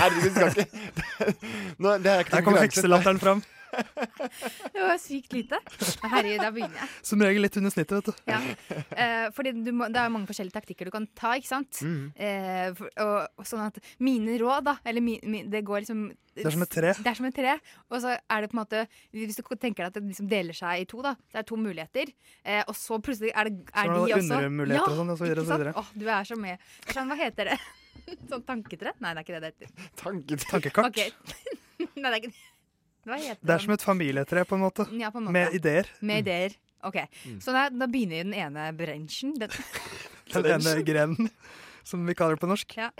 Speaker 21: Herregud, skal ikke Nå, det er ikke
Speaker 3: Der kommer
Speaker 21: konkurranse.
Speaker 3: hekselatteren fram.
Speaker 22: Det var sykt lite. Men Herregud, da begynner jeg.
Speaker 3: Som regel litt under snittet, vet du.
Speaker 22: Ja. Eh, fordi du må, det er jo mange forskjellige taktikker du kan ta, ikke sant?
Speaker 3: Mhm.
Speaker 22: Eh, for, og, og sånn at mine råd, da, eller mi, mi, det går liksom
Speaker 3: Det er som et tre.
Speaker 22: Det er som et tre. Og så er det på en måte Hvis du tenker deg at det liksom deler seg i to, da. Det er to muligheter. Eh, og så plutselig er det
Speaker 3: Så
Speaker 22: er
Speaker 3: er
Speaker 22: de
Speaker 3: det
Speaker 22: også
Speaker 3: undermuligheter og sånn, og så videre og
Speaker 22: ikke
Speaker 3: så
Speaker 22: sant?
Speaker 3: videre.
Speaker 22: Åh, du er så med. Det er Sånn, hva heter det? sånn tanketre? Nei, det er ikke det det heter.
Speaker 3: Tankekart.
Speaker 22: Ok. Nei, det er ikke Hva heter
Speaker 3: Det er som et familietre, på en måte.
Speaker 22: ja, på en måte.
Speaker 3: Med ideer.
Speaker 22: Med ideer. OK.
Speaker 3: Mm.
Speaker 22: Så da, da begynner den ene brensjen. Den.
Speaker 3: Den ene grenen, som vi kaller det på norsk.
Speaker 22: Ja.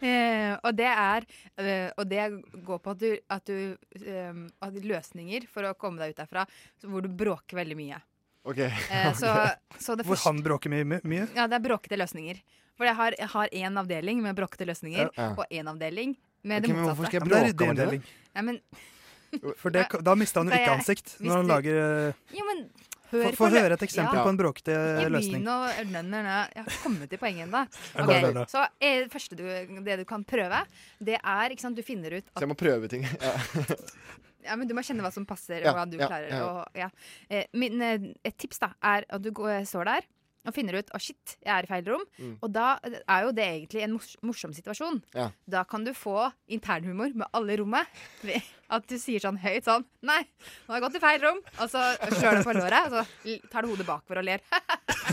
Speaker 22: Eh, og det er eh, Og det går på at du, at du eh, at løsninger for å komme deg ut derfra så hvor du bråker veldig mye.
Speaker 21: Ok.
Speaker 22: Eh, så, så det
Speaker 3: Hvor
Speaker 22: første
Speaker 3: han bråker mye. mye.
Speaker 22: Ja, det er bråkete løsninger. For jeg har- jeg har én avdeling med bråkete løsninger,
Speaker 3: Ja.
Speaker 22: og én avdeling med
Speaker 21: Ok,
Speaker 22: det
Speaker 21: men hvorfor
Speaker 22: motsatte.
Speaker 21: skal jeg Ja, men det er bråke om ryddig det?
Speaker 22: Ja, men,
Speaker 3: For det, da mister han jo
Speaker 22: Da jeg-
Speaker 3: ikke ansikt
Speaker 22: hvis
Speaker 3: når han
Speaker 22: du-
Speaker 3: lager eh,
Speaker 22: jo, men hør
Speaker 3: Få få
Speaker 22: på lø-
Speaker 3: høre et eksempel
Speaker 22: Ja.
Speaker 3: på en bråkete
Speaker 22: Ikke
Speaker 3: løsning.
Speaker 22: begynn å nø, nø, nø. Jeg har ikke kommet til poenget ennå.
Speaker 21: Ja,
Speaker 22: Ok,
Speaker 21: nø, nø, nø.
Speaker 22: så eh, første du, det du kan prøve, det er ikke sant, Du finner ut
Speaker 21: Så
Speaker 22: at
Speaker 21: jeg må prøve ting. Ja.
Speaker 22: ja, men Du må kjenne hva som passer,
Speaker 21: Ja,
Speaker 22: og hva du
Speaker 21: ja,
Speaker 22: klarer.
Speaker 21: ja.
Speaker 22: Og, ja. eh, min, eh, et tips da er at du går, eh, står der og finner ut Å, shit, jeg er i feil rom.
Speaker 21: Mm.
Speaker 22: Og da eh, er jo det egentlig en mors morsom situasjon.
Speaker 21: Ja.
Speaker 22: Da kan du få internhumor med alle i rommet. Ved At du sier sånn høyt sånn Nei, nå har jeg gått i feil rom. Og så slår du på låret, og så l- tar du hodet bakover og ler.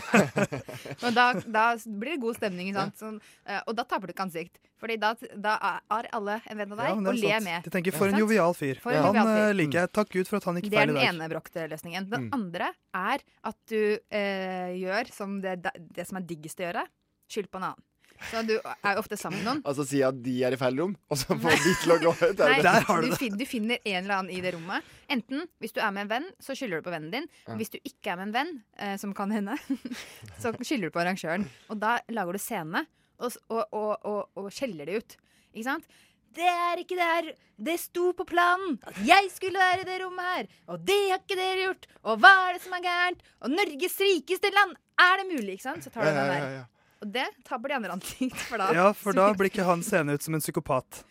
Speaker 22: Men da, da blir det god stemning. ikke Sant? Sånn, eh, og da taper du ikke ansikt. Fordi da, da er alle en venn av deg
Speaker 3: men det er
Speaker 22: og ler
Speaker 3: sant.
Speaker 22: med.
Speaker 3: Jeg tenker, For en
Speaker 22: Sant?
Speaker 3: jovial fyr.
Speaker 22: For en
Speaker 3: han
Speaker 22: jovial fyr.
Speaker 3: eh, liker jeg. Takk Gud for at han gikk
Speaker 22: Det er
Speaker 3: feil i
Speaker 22: den
Speaker 3: dag.
Speaker 22: ene brokte-løsningen. Den
Speaker 3: Mm.
Speaker 22: andre er at du eh, gjør som det, det som er diggest å gjøre. Skyld på en annen. Så du er jo ofte sammen med noen.
Speaker 21: Altså si at de er i feil rom, og så får de til å gå ut.
Speaker 22: Nei, du, fin du finner en eller annen i det rommet. Enten hvis du er med en venn, så skylder du på vennen din.
Speaker 21: Ja.
Speaker 22: Hvis du ikke er med en venn, eh, som kan hende, så skylder du på arrangøren. Og da lager du scene, og, s- og, og, og, og skjeller det ut. Ikke sant? Det er ikke der! Det sto på planen at jeg skulle være i det rommet her! Og det har ikke dere gjort! Og hva er det som er gærent? Og Norges rikeste land! Er det mulig? Ikke sant? Så tar du
Speaker 3: Ja,
Speaker 22: den
Speaker 3: ja,
Speaker 22: der.
Speaker 3: ja, ja.
Speaker 22: Og det taper de andre ansikt for da.
Speaker 3: Ja, for da blir ikke han seende ut som en psykopat.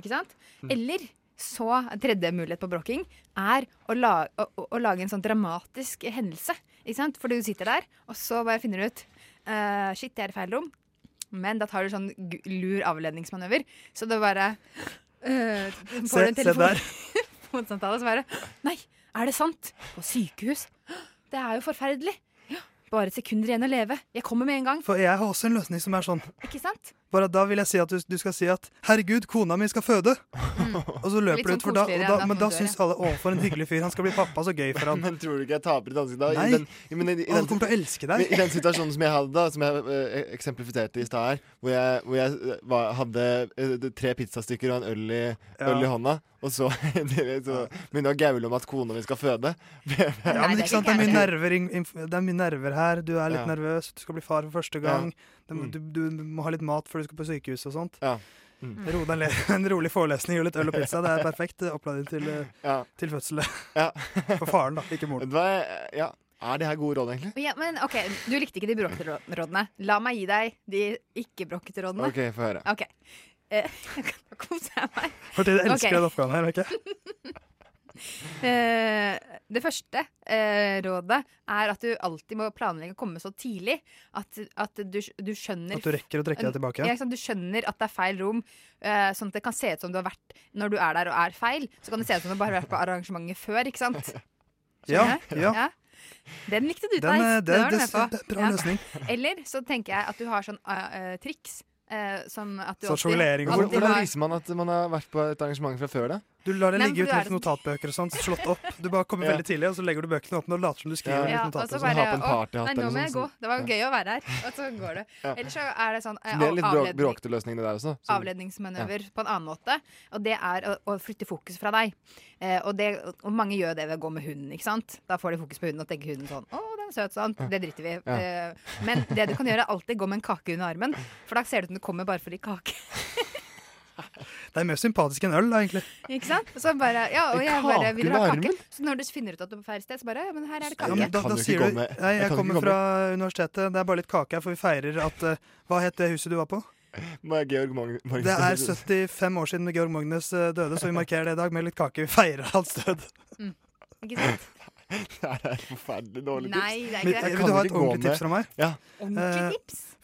Speaker 22: Ikke sant?
Speaker 3: Mm.
Speaker 22: Eller så tredje mulighet på brokking er å, la, å, å, å lage en sånn dramatisk hendelse. Ikke sant? For du sitter der, og så bare finner du ut eh, Shit, jeg er i feil rom. Men da tar du sånn gu- lur avledningsmanøver. Så det bare eh,
Speaker 3: Se-
Speaker 22: Får du en
Speaker 3: se
Speaker 22: telefon
Speaker 3: der.
Speaker 22: på en samtale, så bare Nei, er det sant? På sykehus? Det er jo forferdelig. Bare sekunder igjen å leve. Jeg kommer med en gang.
Speaker 3: For jeg har også en løsning som er sånn.
Speaker 22: Ikke sant?
Speaker 3: Bare at Da vil jeg si at du, du skal si at 'herregud, kona mi skal føde'. Og så
Speaker 22: Litt
Speaker 3: løper du
Speaker 22: sånn
Speaker 3: ut, for da, og
Speaker 22: koseligere enn
Speaker 3: da,
Speaker 22: at
Speaker 3: men
Speaker 22: hun
Speaker 3: da
Speaker 22: dør,
Speaker 3: syns alle 'å, for en hyggelig fyr', han skal bli pappa, så gøy for han.
Speaker 21: Men tror du ikke jeg taper i ansikt da?
Speaker 3: Nei.
Speaker 21: I den, i, men, i, i
Speaker 3: Alle
Speaker 21: den,
Speaker 3: kommer til å elske
Speaker 21: men
Speaker 3: deg.
Speaker 21: I den situasjonen som jeg hadde da, som jeg eh, eksemplifiserte i stad her, hvor jeg, hvor jeg eh, var, hadde eh, det- tre pizzastykker og en øl i,
Speaker 3: Ja.
Speaker 21: øl i hånda, og så, så begynner jeg å gaule om at kona mi skal føde.
Speaker 3: Ja, men ikke sant, det er mye nerver, inn- inn- det er mye nerver her. Du er litt
Speaker 21: Ja.
Speaker 3: nervøs, du skal bli far for første gang. Det- Du, du må ha litt mat før du skal på sykehus og sånt.
Speaker 21: Mm.
Speaker 3: Ro deg ned. En rolig forelesning og litt øl og pizza. Det er perfekt eh, oppladning til, eh, til fødselen. For faren, da, ikke moren.
Speaker 21: Ja. Er det her gode råd, egentlig?
Speaker 22: Ja, men ok, Du likte ikke de bråkete rå- rådene. La meg gi deg de ikke-bråkete rådene.
Speaker 21: OK, få høre.
Speaker 22: Ok. Eh, Kos deg meg.
Speaker 3: Martine elsker
Speaker 22: Ok.
Speaker 3: den oppgaven her, ikke
Speaker 22: Eh, det første eh, rådet er at du alltid må planlegge å komme så tidlig at, at du, du skjønner
Speaker 3: At du rekker å trekke deg tilbake.
Speaker 22: Ja, ikke sant? Du skjønner at det er feil rom, eh, sånn at det kan se ut som du har vært Når du er der og er feil, så kan det se ut som du bare har vært på arrangementet før, ikke sant?
Speaker 3: Ja,
Speaker 22: Skjønner jeg?
Speaker 3: ja.
Speaker 22: Sånn Den likte du,
Speaker 3: Den, eh,
Speaker 22: Theis.
Speaker 3: det-
Speaker 22: Den var du
Speaker 3: det-
Speaker 22: med på.
Speaker 3: det er bra løsning.
Speaker 22: Eller så tenker jeg at du har sånn eh, eh, triks. eh, som at du
Speaker 3: Sånn
Speaker 22: alltid-
Speaker 3: sjonglering og
Speaker 21: Hvordan,
Speaker 22: alltid
Speaker 21: hvordan
Speaker 22: har-
Speaker 21: viser man at man har vært på et arrangement fra før, da?
Speaker 3: Du lar det
Speaker 22: Nei,
Speaker 3: ligge
Speaker 22: for
Speaker 3: ut
Speaker 22: du er
Speaker 3: litt
Speaker 22: det som-
Speaker 3: notatbøker og sånn, slått opp. Du bare kommer
Speaker 21: Ja.
Speaker 3: veldig tidlig, og så legger du bøkene åpne og later som du skriver.
Speaker 21: Ja.
Speaker 3: litt
Speaker 22: Ja, og
Speaker 3: notater
Speaker 22: så
Speaker 3: og sånn.
Speaker 21: bare- ha på en
Speaker 22: «Å,
Speaker 21: partyhatt
Speaker 22: Nei,
Speaker 21: eller
Speaker 22: nå må
Speaker 21: noe
Speaker 22: jeg gå.
Speaker 21: sånt».
Speaker 22: Det var jo
Speaker 21: Ja.
Speaker 22: gøy å være her. Og så går du.
Speaker 21: Ja.
Speaker 22: Eller så er det sånn eh,
Speaker 21: Det er litt brå-
Speaker 22: avledning-
Speaker 21: bråkete løsning, det der også.
Speaker 3: Sånn.
Speaker 21: som-
Speaker 22: avledningsmanøver på en annen måte. Og det er å, å flytte fokus fra deg. Eh, og, det, og mange gjør det ved å gå med hunden, ikke sant. Da får de fokus på hunden og tenker hunden sånn å, den er søt sånn. Det driter vi i.
Speaker 21: Ja.
Speaker 22: Eh, men det du kan gjøre, er alltid gå med en kake under armen. For da ser det ut som du kommer bare for litt kake.
Speaker 3: Det er mer sympatisk enn øl, da, egentlig.
Speaker 22: Ikke sant? Og så bare, ja, og
Speaker 3: En
Speaker 22: jeg bare
Speaker 3: kake
Speaker 22: vil ha
Speaker 3: under
Speaker 22: kake.
Speaker 3: armen?
Speaker 22: Så når du finner ut at du er på feil sted, så bare ja, men her er det
Speaker 3: Ja,
Speaker 22: kake.
Speaker 3: men da, da sier du Nei, jeg, kommer fra universitetet. Det er bare litt kake her, for vi feirer at eh, Hva het det huset du var på?
Speaker 21: Må jeg Georg Mag- Magnus
Speaker 3: Det er 75 år siden Georg Magnus eh, døde, så vi markerer det i dag med litt kake. Vi feirer hans død.
Speaker 22: Ikke sant?
Speaker 21: Det her er forferdelig dårlig tips.
Speaker 22: Nei, det er
Speaker 3: Men,
Speaker 22: ikke
Speaker 3: eh,
Speaker 21: Jeg
Speaker 3: vil du
Speaker 21: kan
Speaker 3: ha
Speaker 21: ikke
Speaker 3: et
Speaker 21: gå
Speaker 3: ordentlig
Speaker 21: med-
Speaker 3: tips fra meg?
Speaker 21: Ja.
Speaker 3: Eh,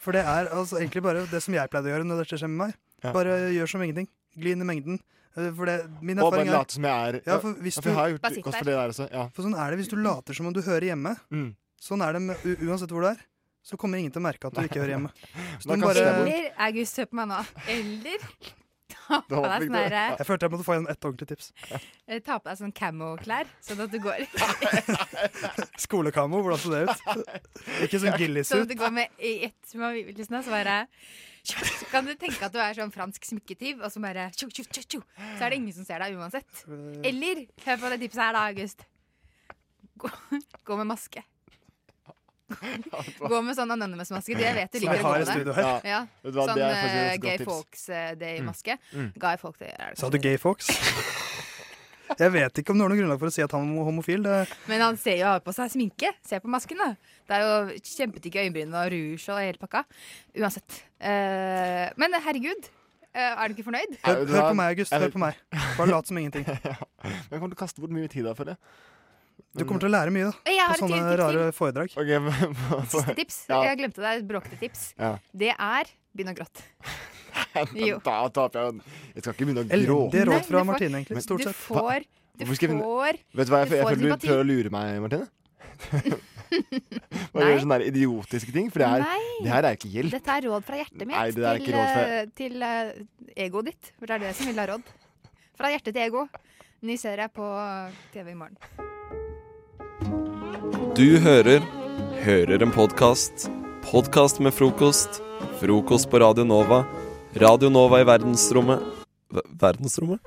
Speaker 3: For det er altså egentlig bare det som jeg pleide å gjøre når dette skjer med meg. Bare gjør som ingenting. Gli inn i mengden. Eh, For det, min
Speaker 21: Og bare
Speaker 3: erfaring er
Speaker 21: late som jeg er
Speaker 3: Ja, for hvis
Speaker 21: jeg har
Speaker 3: du-
Speaker 21: gjort kost for det der også. Ja. Mm.
Speaker 3: For sånn er det hvis du later som om du hører hjemme. Sånn er det med, u uansett hvor du er. Så kommer ingen til å merke at du ikke hører hjemme. Så
Speaker 21: Da
Speaker 3: du
Speaker 21: kan
Speaker 3: bare-
Speaker 22: Eller August, hør på meg nå. Eller ta på deg sånn derre
Speaker 3: Jeg følte jeg måtte få igjen ett ordentlig tips.
Speaker 22: Eh, Ta på deg sånn camo-klær, sånn at du går
Speaker 3: Skolekamo, hvordan så det ut? Ikke sånn
Speaker 22: Sånn at
Speaker 3: gillis-ut.
Speaker 22: du går med i ett med omgivelsene, så bare Så kan du tenke at du er sånn fransk smykketyv, og så bare tjo, tjo, tjo, tjo. Så er det ingen som ser deg uansett. Eller hør på det tipset her, da, August. Gå, gå med maske. Gå med sånn anonymous-maske. Det jeg vet du
Speaker 3: Som
Speaker 22: liker
Speaker 3: jeg
Speaker 22: å
Speaker 3: har
Speaker 22: gå
Speaker 3: i
Speaker 22: med.
Speaker 3: studio her.
Speaker 22: Ja. Ja.
Speaker 3: Vet du hva,
Speaker 22: Sånn
Speaker 3: det er faktisk
Speaker 22: eh,
Speaker 3: et godt
Speaker 22: gay
Speaker 3: tips.
Speaker 22: folks eh, day-maske.
Speaker 3: Mm. Mm.
Speaker 22: Guy folk, det er det.
Speaker 3: Sa du gay folks? Jeg vet ikke om det var noe grunnlag for å si at han var homofil. Det,
Speaker 22: Men han ser jo har på seg sminke. Se på masken, da. Det er jo kjempedigg i øyenbrynene og rouge og hele pakka. Uansett. Eh, men herregud, eh, er du ikke fornøyd?
Speaker 3: hør, hør på meg, August. Hør på meg. Bare lat som ingenting.
Speaker 21: Men jeg kommer til å kaste bort mye tid der, føler jeg.
Speaker 3: Du kommer til å lære mye da,
Speaker 22: Jeg har
Speaker 3: på
Speaker 22: et
Speaker 3: sånne
Speaker 22: tips til.
Speaker 3: rare foredrag.
Speaker 21: Okay,
Speaker 22: Siste tips.
Speaker 21: Ja.
Speaker 22: Jeg glemte deg et bråkete tips.
Speaker 21: Ja.
Speaker 22: Det er begynn å gråte.
Speaker 21: Men da taper jeg jo den. Jeg skal ikke begynne å
Speaker 3: Elendige
Speaker 21: gråte.
Speaker 3: råd Nei, fra du får- Martine, egentlig, stort
Speaker 21: Men-
Speaker 3: sett. du får-
Speaker 21: Hva-
Speaker 3: du
Speaker 21: hvorfor skal jeg-
Speaker 3: får-
Speaker 21: Vet du hva, jeg,
Speaker 3: du
Speaker 21: jeg
Speaker 3: får
Speaker 21: føler du
Speaker 3: sympati.
Speaker 21: prøver å lure meg, Martine. Bare gjør sånne der idiotiske ting, for det her,
Speaker 22: Nei.
Speaker 21: det her er ikke hjelp.
Speaker 22: Dette er råd fra hjertet mitt
Speaker 21: Nei, det er ikke
Speaker 22: til,
Speaker 21: råd fra-
Speaker 22: eh, til eh, egoet ditt. For det er det som vil ha råd. Fra hjerte til ego. Ny serie på TV i morgen.
Speaker 1: Du hører Hører en podkast. Podkast med frokost. Frokost på Radio Nova. Radio Nova i verdensrommet Ver- Verdensrommet?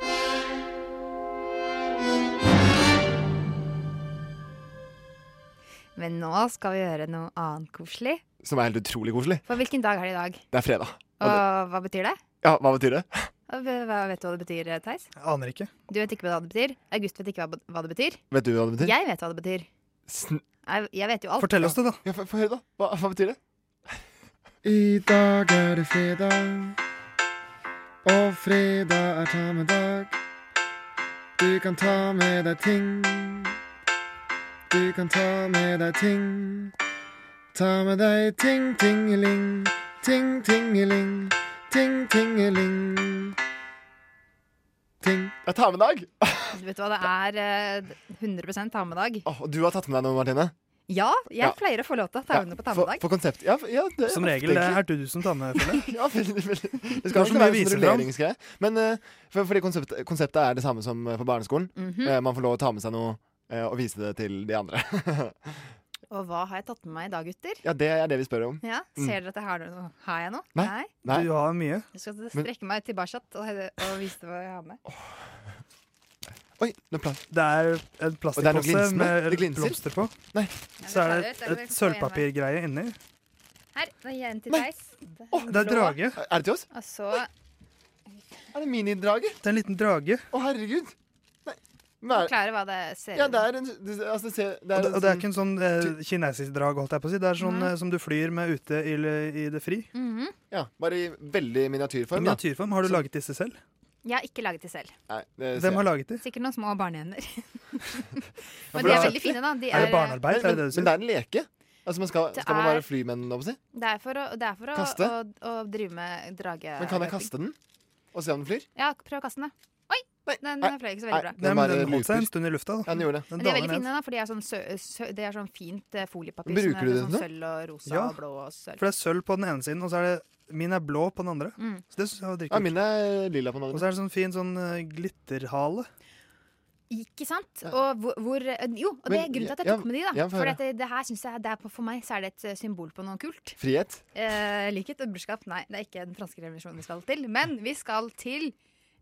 Speaker 22: Men nå skal vi gjøre noe annet koselig.
Speaker 21: Som er helt utrolig koselig.
Speaker 22: For hvilken dag er det i dag?
Speaker 21: Det er fredag.
Speaker 22: Og
Speaker 21: Og det,
Speaker 22: hva betyr det?
Speaker 21: ja, hva betyr det?
Speaker 22: Og v- Hva vet du hva det betyr, Theis?
Speaker 21: Aner ikke.
Speaker 22: Du vet ikke hva det betyr. August vet ikke hva, hva det betyr.
Speaker 21: Vet du hva det betyr?
Speaker 22: Jeg vet hva det betyr.
Speaker 21: Sn-
Speaker 22: Jeg, jeg vet jo alt.
Speaker 21: Fortell oss det, da. Ja, få høre, da. Hva, hva betyr det? I dag er det fredag,
Speaker 4: og fredag er ta med dag. Du kan ta med deg ting. Du kan ta med deg ting. Ta med deg ting, tingeling. Ting, tingeling. Ting, tingeling.
Speaker 21: Ting. Jeg tar med dag.
Speaker 22: Du vet hva det er eh, 100 ta med dag.
Speaker 21: Åh, og du har tatt med deg noe, Martine.
Speaker 22: Ja, jeg
Speaker 21: Ja.
Speaker 22: pleier å få lov til å ta med noe på ta med
Speaker 21: For,
Speaker 22: dag.
Speaker 21: for konsept. Ja, ja, det,
Speaker 3: Som
Speaker 21: ofte,
Speaker 3: regel det
Speaker 21: egentlig.
Speaker 3: er du som tar med føler jeg.
Speaker 21: Ja, veldig, veldig. Det
Speaker 3: Du
Speaker 21: skal
Speaker 3: har så
Speaker 21: alltid
Speaker 3: mye å
Speaker 21: være
Speaker 3: vise
Speaker 21: sånn
Speaker 3: fram.
Speaker 21: rulleringsgreie. Men eh, for, fordi konseptet, konseptet er det samme som eh, på barneskolen.
Speaker 22: Mhm.
Speaker 21: Eh, man får lov å ta med seg noe eh, og vise det til de andre.
Speaker 22: Og hva har jeg tatt med meg i dag, gutter?
Speaker 21: ja, det er det vi spør om.
Speaker 22: Ja,
Speaker 21: Mm.
Speaker 22: Ser dere at jeg har noe? Har jeg noe?
Speaker 21: Nei. Nei. Du har mye.
Speaker 22: Jeg skal
Speaker 21: Men-
Speaker 22: strekke meg tilbake og, og vise deg hva jeg har med.
Speaker 21: Oi, noe plast.
Speaker 3: Det er en
Speaker 21: det er noe
Speaker 3: plastikkpose
Speaker 21: glinsende.
Speaker 3: med
Speaker 21: Det glinser.
Speaker 3: blomster på.
Speaker 21: Nei.
Speaker 3: Så er det
Speaker 22: Ja, det tar
Speaker 3: et,
Speaker 22: du.
Speaker 3: et sølvpapirgreie inni.
Speaker 22: Her. Da gir jeg en til Theis.
Speaker 3: Det er drage.
Speaker 21: Er det til oss?
Speaker 22: Og så
Speaker 21: Er det minidrage?
Speaker 3: Det er en liten drage.
Speaker 21: Å, herregud. Nei. Men er,
Speaker 22: forklare hva det ser
Speaker 21: ja,
Speaker 22: ut
Speaker 21: det er en det, altså, se,
Speaker 3: Og
Speaker 21: det er
Speaker 3: det, og det
Speaker 21: en
Speaker 3: er
Speaker 21: sånn-
Speaker 3: ikke en sånn eh, kinesisk drag, holdt jeg på å si. Det er sånn
Speaker 21: Nei.
Speaker 3: eh, som du flyr med ute i, i det fri.
Speaker 22: mhm.
Speaker 21: Ja, bare i veldig miniatyrform. da.
Speaker 3: Miniatyrform. Har du laget disse selv?
Speaker 22: Jeg har ikke laget de selv.
Speaker 21: Nei, det ser
Speaker 3: Hvem har
Speaker 21: jeg.
Speaker 3: laget de?
Speaker 22: Sikkert noen små barnehender.
Speaker 21: Ja,
Speaker 22: Men
Speaker 21: for det
Speaker 22: de er eh,
Speaker 21: er-
Speaker 22: veldig fine, da. De
Speaker 21: Er det barnearbeid?
Speaker 3: Er det det du sier?
Speaker 21: Men det er en leke. Altså, man skal,
Speaker 22: Det
Speaker 21: skal man
Speaker 22: er-
Speaker 21: bare fly med den? holdt på å Si?
Speaker 22: Det er for å, det er for å,
Speaker 21: Kaste?
Speaker 22: å, å drive med drage...
Speaker 21: Men kan jeg kaste den? Og se om den flyr?
Speaker 22: Ja, prøv å kaste den. da. Oi! Den
Speaker 21: Nei.
Speaker 22: fløy ikke så
Speaker 21: Nei,
Speaker 22: veldig bra.
Speaker 3: Nei, men
Speaker 21: bare
Speaker 3: den holdt seg
Speaker 21: luper.
Speaker 3: en stund i lufta. Da.
Speaker 21: Ja, den gjorde det.
Speaker 3: Den
Speaker 22: Men de er
Speaker 3: daler
Speaker 22: veldig
Speaker 3: ned.
Speaker 22: fine, da, for de er sånn, sø, sø, det er sånn fint eh, foliepapir.
Speaker 3: Bruker
Speaker 22: som er
Speaker 3: du det
Speaker 22: litt
Speaker 3: til
Speaker 22: sånn
Speaker 3: noe?
Speaker 22: Sølv og rosa
Speaker 3: Ja,
Speaker 22: og blå og sølv.
Speaker 3: For det er sølv på den ene siden, og så er det Min er blå på den andre.
Speaker 22: Mm.
Speaker 3: Så det synes jeg var
Speaker 21: Ja,
Speaker 3: dritkult.
Speaker 21: min er lilla på den
Speaker 3: Og
Speaker 21: andre.
Speaker 3: så er det sånn fin sånn eh, glitterhale.
Speaker 22: Ikke sant? Og hvor, hvor eh, Jo, og det er
Speaker 3: Men-
Speaker 22: grunnen til at jeg
Speaker 3: ja,
Speaker 22: tok med de, da.
Speaker 3: ja, få
Speaker 22: for
Speaker 3: høre.
Speaker 22: at det, det her synes jeg det er på, For meg så er det et eh, symbol på noe kult.
Speaker 21: Frihet.
Speaker 22: Eh, likhet og brorskap. Nei, det er ikke den franske revolusjonen vi skal til. Men vi skal til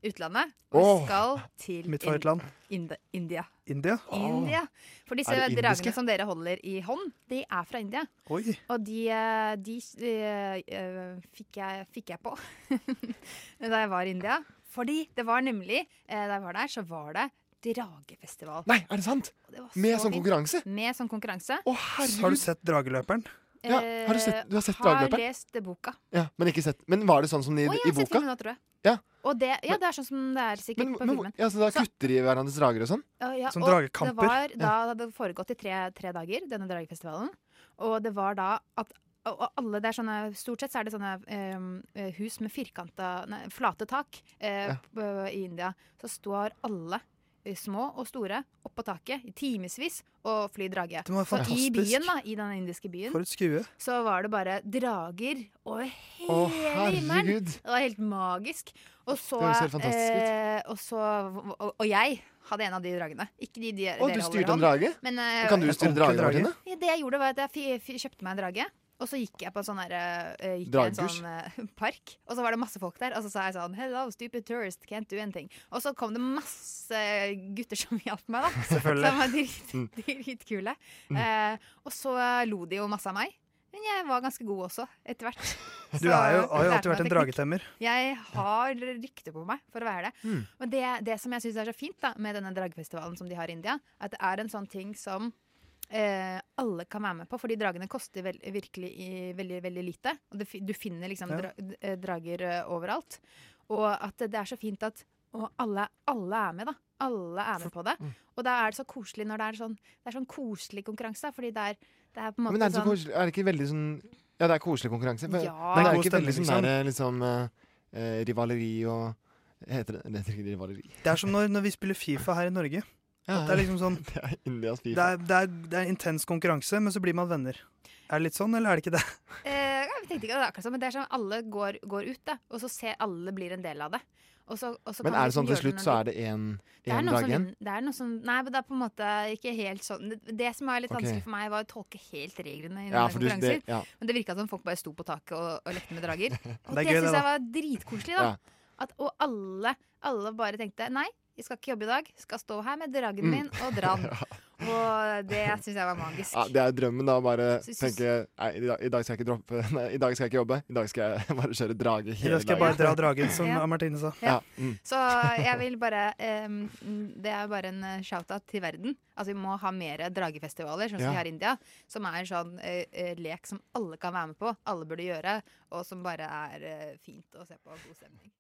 Speaker 22: utlandet. Og
Speaker 3: Åh,
Speaker 22: vi skal til
Speaker 3: mitt favorittland.
Speaker 22: Ind India.
Speaker 3: India.
Speaker 22: India. For disse
Speaker 3: Er det indiske?
Speaker 22: dragene som dere holder i hånd, de er fra India.
Speaker 3: Oi.
Speaker 22: Og de, eh, de eh, eh, fikk, jeg, fikk jeg på da jeg var i India. Fordi det var nemlig eh, Da jeg var der, så var det dragefestival.
Speaker 21: Nei, er det sant?
Speaker 3: Med sånn
Speaker 22: Så fint.
Speaker 3: konkurranse?
Speaker 22: Med sånn konkurranse.
Speaker 21: Å,
Speaker 3: Har du sett Drageløperen?
Speaker 21: Ja, har du sett- du har sett Drageløperen?
Speaker 22: Har lest eh, boka.
Speaker 21: Ja, men, ikke sett. men var det sånn som de,
Speaker 22: Å, jeg
Speaker 21: i
Speaker 22: har sett
Speaker 21: boka?
Speaker 22: filmen nå, tror jeg.
Speaker 21: Ja.
Speaker 22: Og det, ja, det er sånn som det er sikkert på
Speaker 21: Men,
Speaker 22: filmen.
Speaker 21: ja, så da kutter de i hverandres drager og sånn?
Speaker 22: Ja, ja,
Speaker 21: Sånn
Speaker 22: og
Speaker 21: dragekamper.
Speaker 22: Det var, da
Speaker 21: Ja.
Speaker 22: det hadde foregått i tre, tre dager, denne dragefestivalen. Og det var da at og og alle det er sånne, Stort sett så er det sånne eh, eh, hus med firkanta, nei, flate tak eh,
Speaker 21: Ja.
Speaker 22: p- eh, i India. Så står alle, eh, små og store, oppå taket i timevis og flyr drage.
Speaker 3: Det var
Speaker 22: Så i
Speaker 3: fantastisk.
Speaker 22: byen, da, i den indiske byen,
Speaker 3: For et skue.
Speaker 22: så var det bare drager over hele
Speaker 3: Å,
Speaker 22: himmelen.
Speaker 3: herregud.
Speaker 22: Det var helt magisk. Og så,
Speaker 21: Det høres helt fantastisk ut.
Speaker 22: eh, og, så og, og jeg hadde en av de dragene. Ikke de, de
Speaker 21: Å,
Speaker 22: dere
Speaker 21: du
Speaker 22: holder
Speaker 21: styrte en
Speaker 22: hånd.
Speaker 21: drage?
Speaker 22: Men, eh,
Speaker 21: Og kan du styre drage, Martine?
Speaker 22: Ja, det jeg gjorde, var at jeg fi- fi- kjøpte meg en drage. Og så gikk jeg på en sånn, der, eh, gikk jeg i en
Speaker 21: Dragekurs?
Speaker 22: sånn eh, park, og så var det masse folk der. Og så sa jeg sånn Hello, stupid tourist, can't do anything. Og så kom det masse gutter som hjalp meg, da.
Speaker 3: Selvfølgelig. Mm.
Speaker 22: Som var drit- dritkule. Eh, og så lo de jo masse av meg. Men jeg var ganske god også, etter hvert.
Speaker 3: Du
Speaker 22: Så
Speaker 3: er jo, har jo
Speaker 22: lærte
Speaker 3: alltid vært
Speaker 22: meg
Speaker 3: en
Speaker 22: teknikk.
Speaker 3: dragetemmer.
Speaker 22: Jeg har rykte på meg for å være det.
Speaker 3: Mm.
Speaker 22: Men det, det som jeg syns er så fint da, med denne dragefestivalen som de har i India, at det er en sånn ting som eh, alle kan være med på. Fordi dragene koster vel, virkelig i, veldig, veldig lite. Og det, fi- du finner liksom
Speaker 5: Ja.
Speaker 22: dra, d- eh, drager eh, overalt. Og at det er så fint at og alle, alle er med, da. Alle er med på det.
Speaker 21: Mm.
Speaker 22: Og da er det så koselig når det er sånn, det er sånn koselig konkurranse. da, Fordi det er, det er på en måte
Speaker 21: Men er det, så
Speaker 22: sånn
Speaker 21: koselig, er det ikke veldig sånn Ja, det er koselig konkurranse. for-
Speaker 22: Ja.
Speaker 21: Men det
Speaker 22: Det er
Speaker 21: er
Speaker 22: god
Speaker 21: ikke veldig sånn
Speaker 22: stemning,
Speaker 21: der, liksom eh, eh, rivaleri og Heter det, det heter ikke rivaleri?
Speaker 3: Det er som når, når vi spiller Fifa her i Norge. At det er liksom sånn
Speaker 21: Det er Indias
Speaker 3: det
Speaker 21: Fifa.
Speaker 3: er, det, er, det er intens konkurranse, men så blir man venner. Er det litt sånn, eller er det ikke det?
Speaker 22: Eh, jeg tenkte ikke at det er akkurat sånn, men det er sånn alle går, går ut, da, og så ser alle blir en del av det. Og så, og så liksom
Speaker 21: Men er det sånn til slutt så er det én dag igjen?
Speaker 22: Det er noe som, nei, men det er på en måte ikke helt sånn Det, det som var litt
Speaker 21: Ok.
Speaker 22: vanskelig for meg, var å tolke helt reglene i
Speaker 21: Ja,
Speaker 22: noen
Speaker 21: for du-
Speaker 22: konkurranser.
Speaker 21: det- ja.
Speaker 22: Men det virka som folk bare sto på taket og, og lekte med drager. Og
Speaker 21: Det er
Speaker 22: det,
Speaker 21: gøy, det,
Speaker 22: synes
Speaker 21: da.
Speaker 22: jeg var dritkoselig, da.
Speaker 21: Ja.
Speaker 22: At, og alle, alle bare tenkte nei, jeg skal ikke jobbe i dag. Skal stå her med
Speaker 21: Mm.
Speaker 22: dragen min og dra den. Og det syns jeg var magisk.
Speaker 21: Ja, det er drømmen, da. Bare
Speaker 22: Så jeg synes-
Speaker 21: tenke nei, i dag, i dag skal jeg ikke droppe Nei, i dag skal jeg ikke jobbe. I dag skal jeg bare kjøre drage hele
Speaker 3: I dag skal jeg bare dra dragen, som
Speaker 22: Ja.
Speaker 3: Martine sa.
Speaker 21: Ja. Mm.
Speaker 22: Så jeg vil bare em, Det er bare en eh, shout-out til verden. Altså Vi må ha mer dragefestivaler, sånn som
Speaker 21: Ja.
Speaker 22: vi har i India. Som er en sånn eh, eh, lek som alle kan være med på, alle burde gjøre, og som bare er eh, fint å se på. God stemning.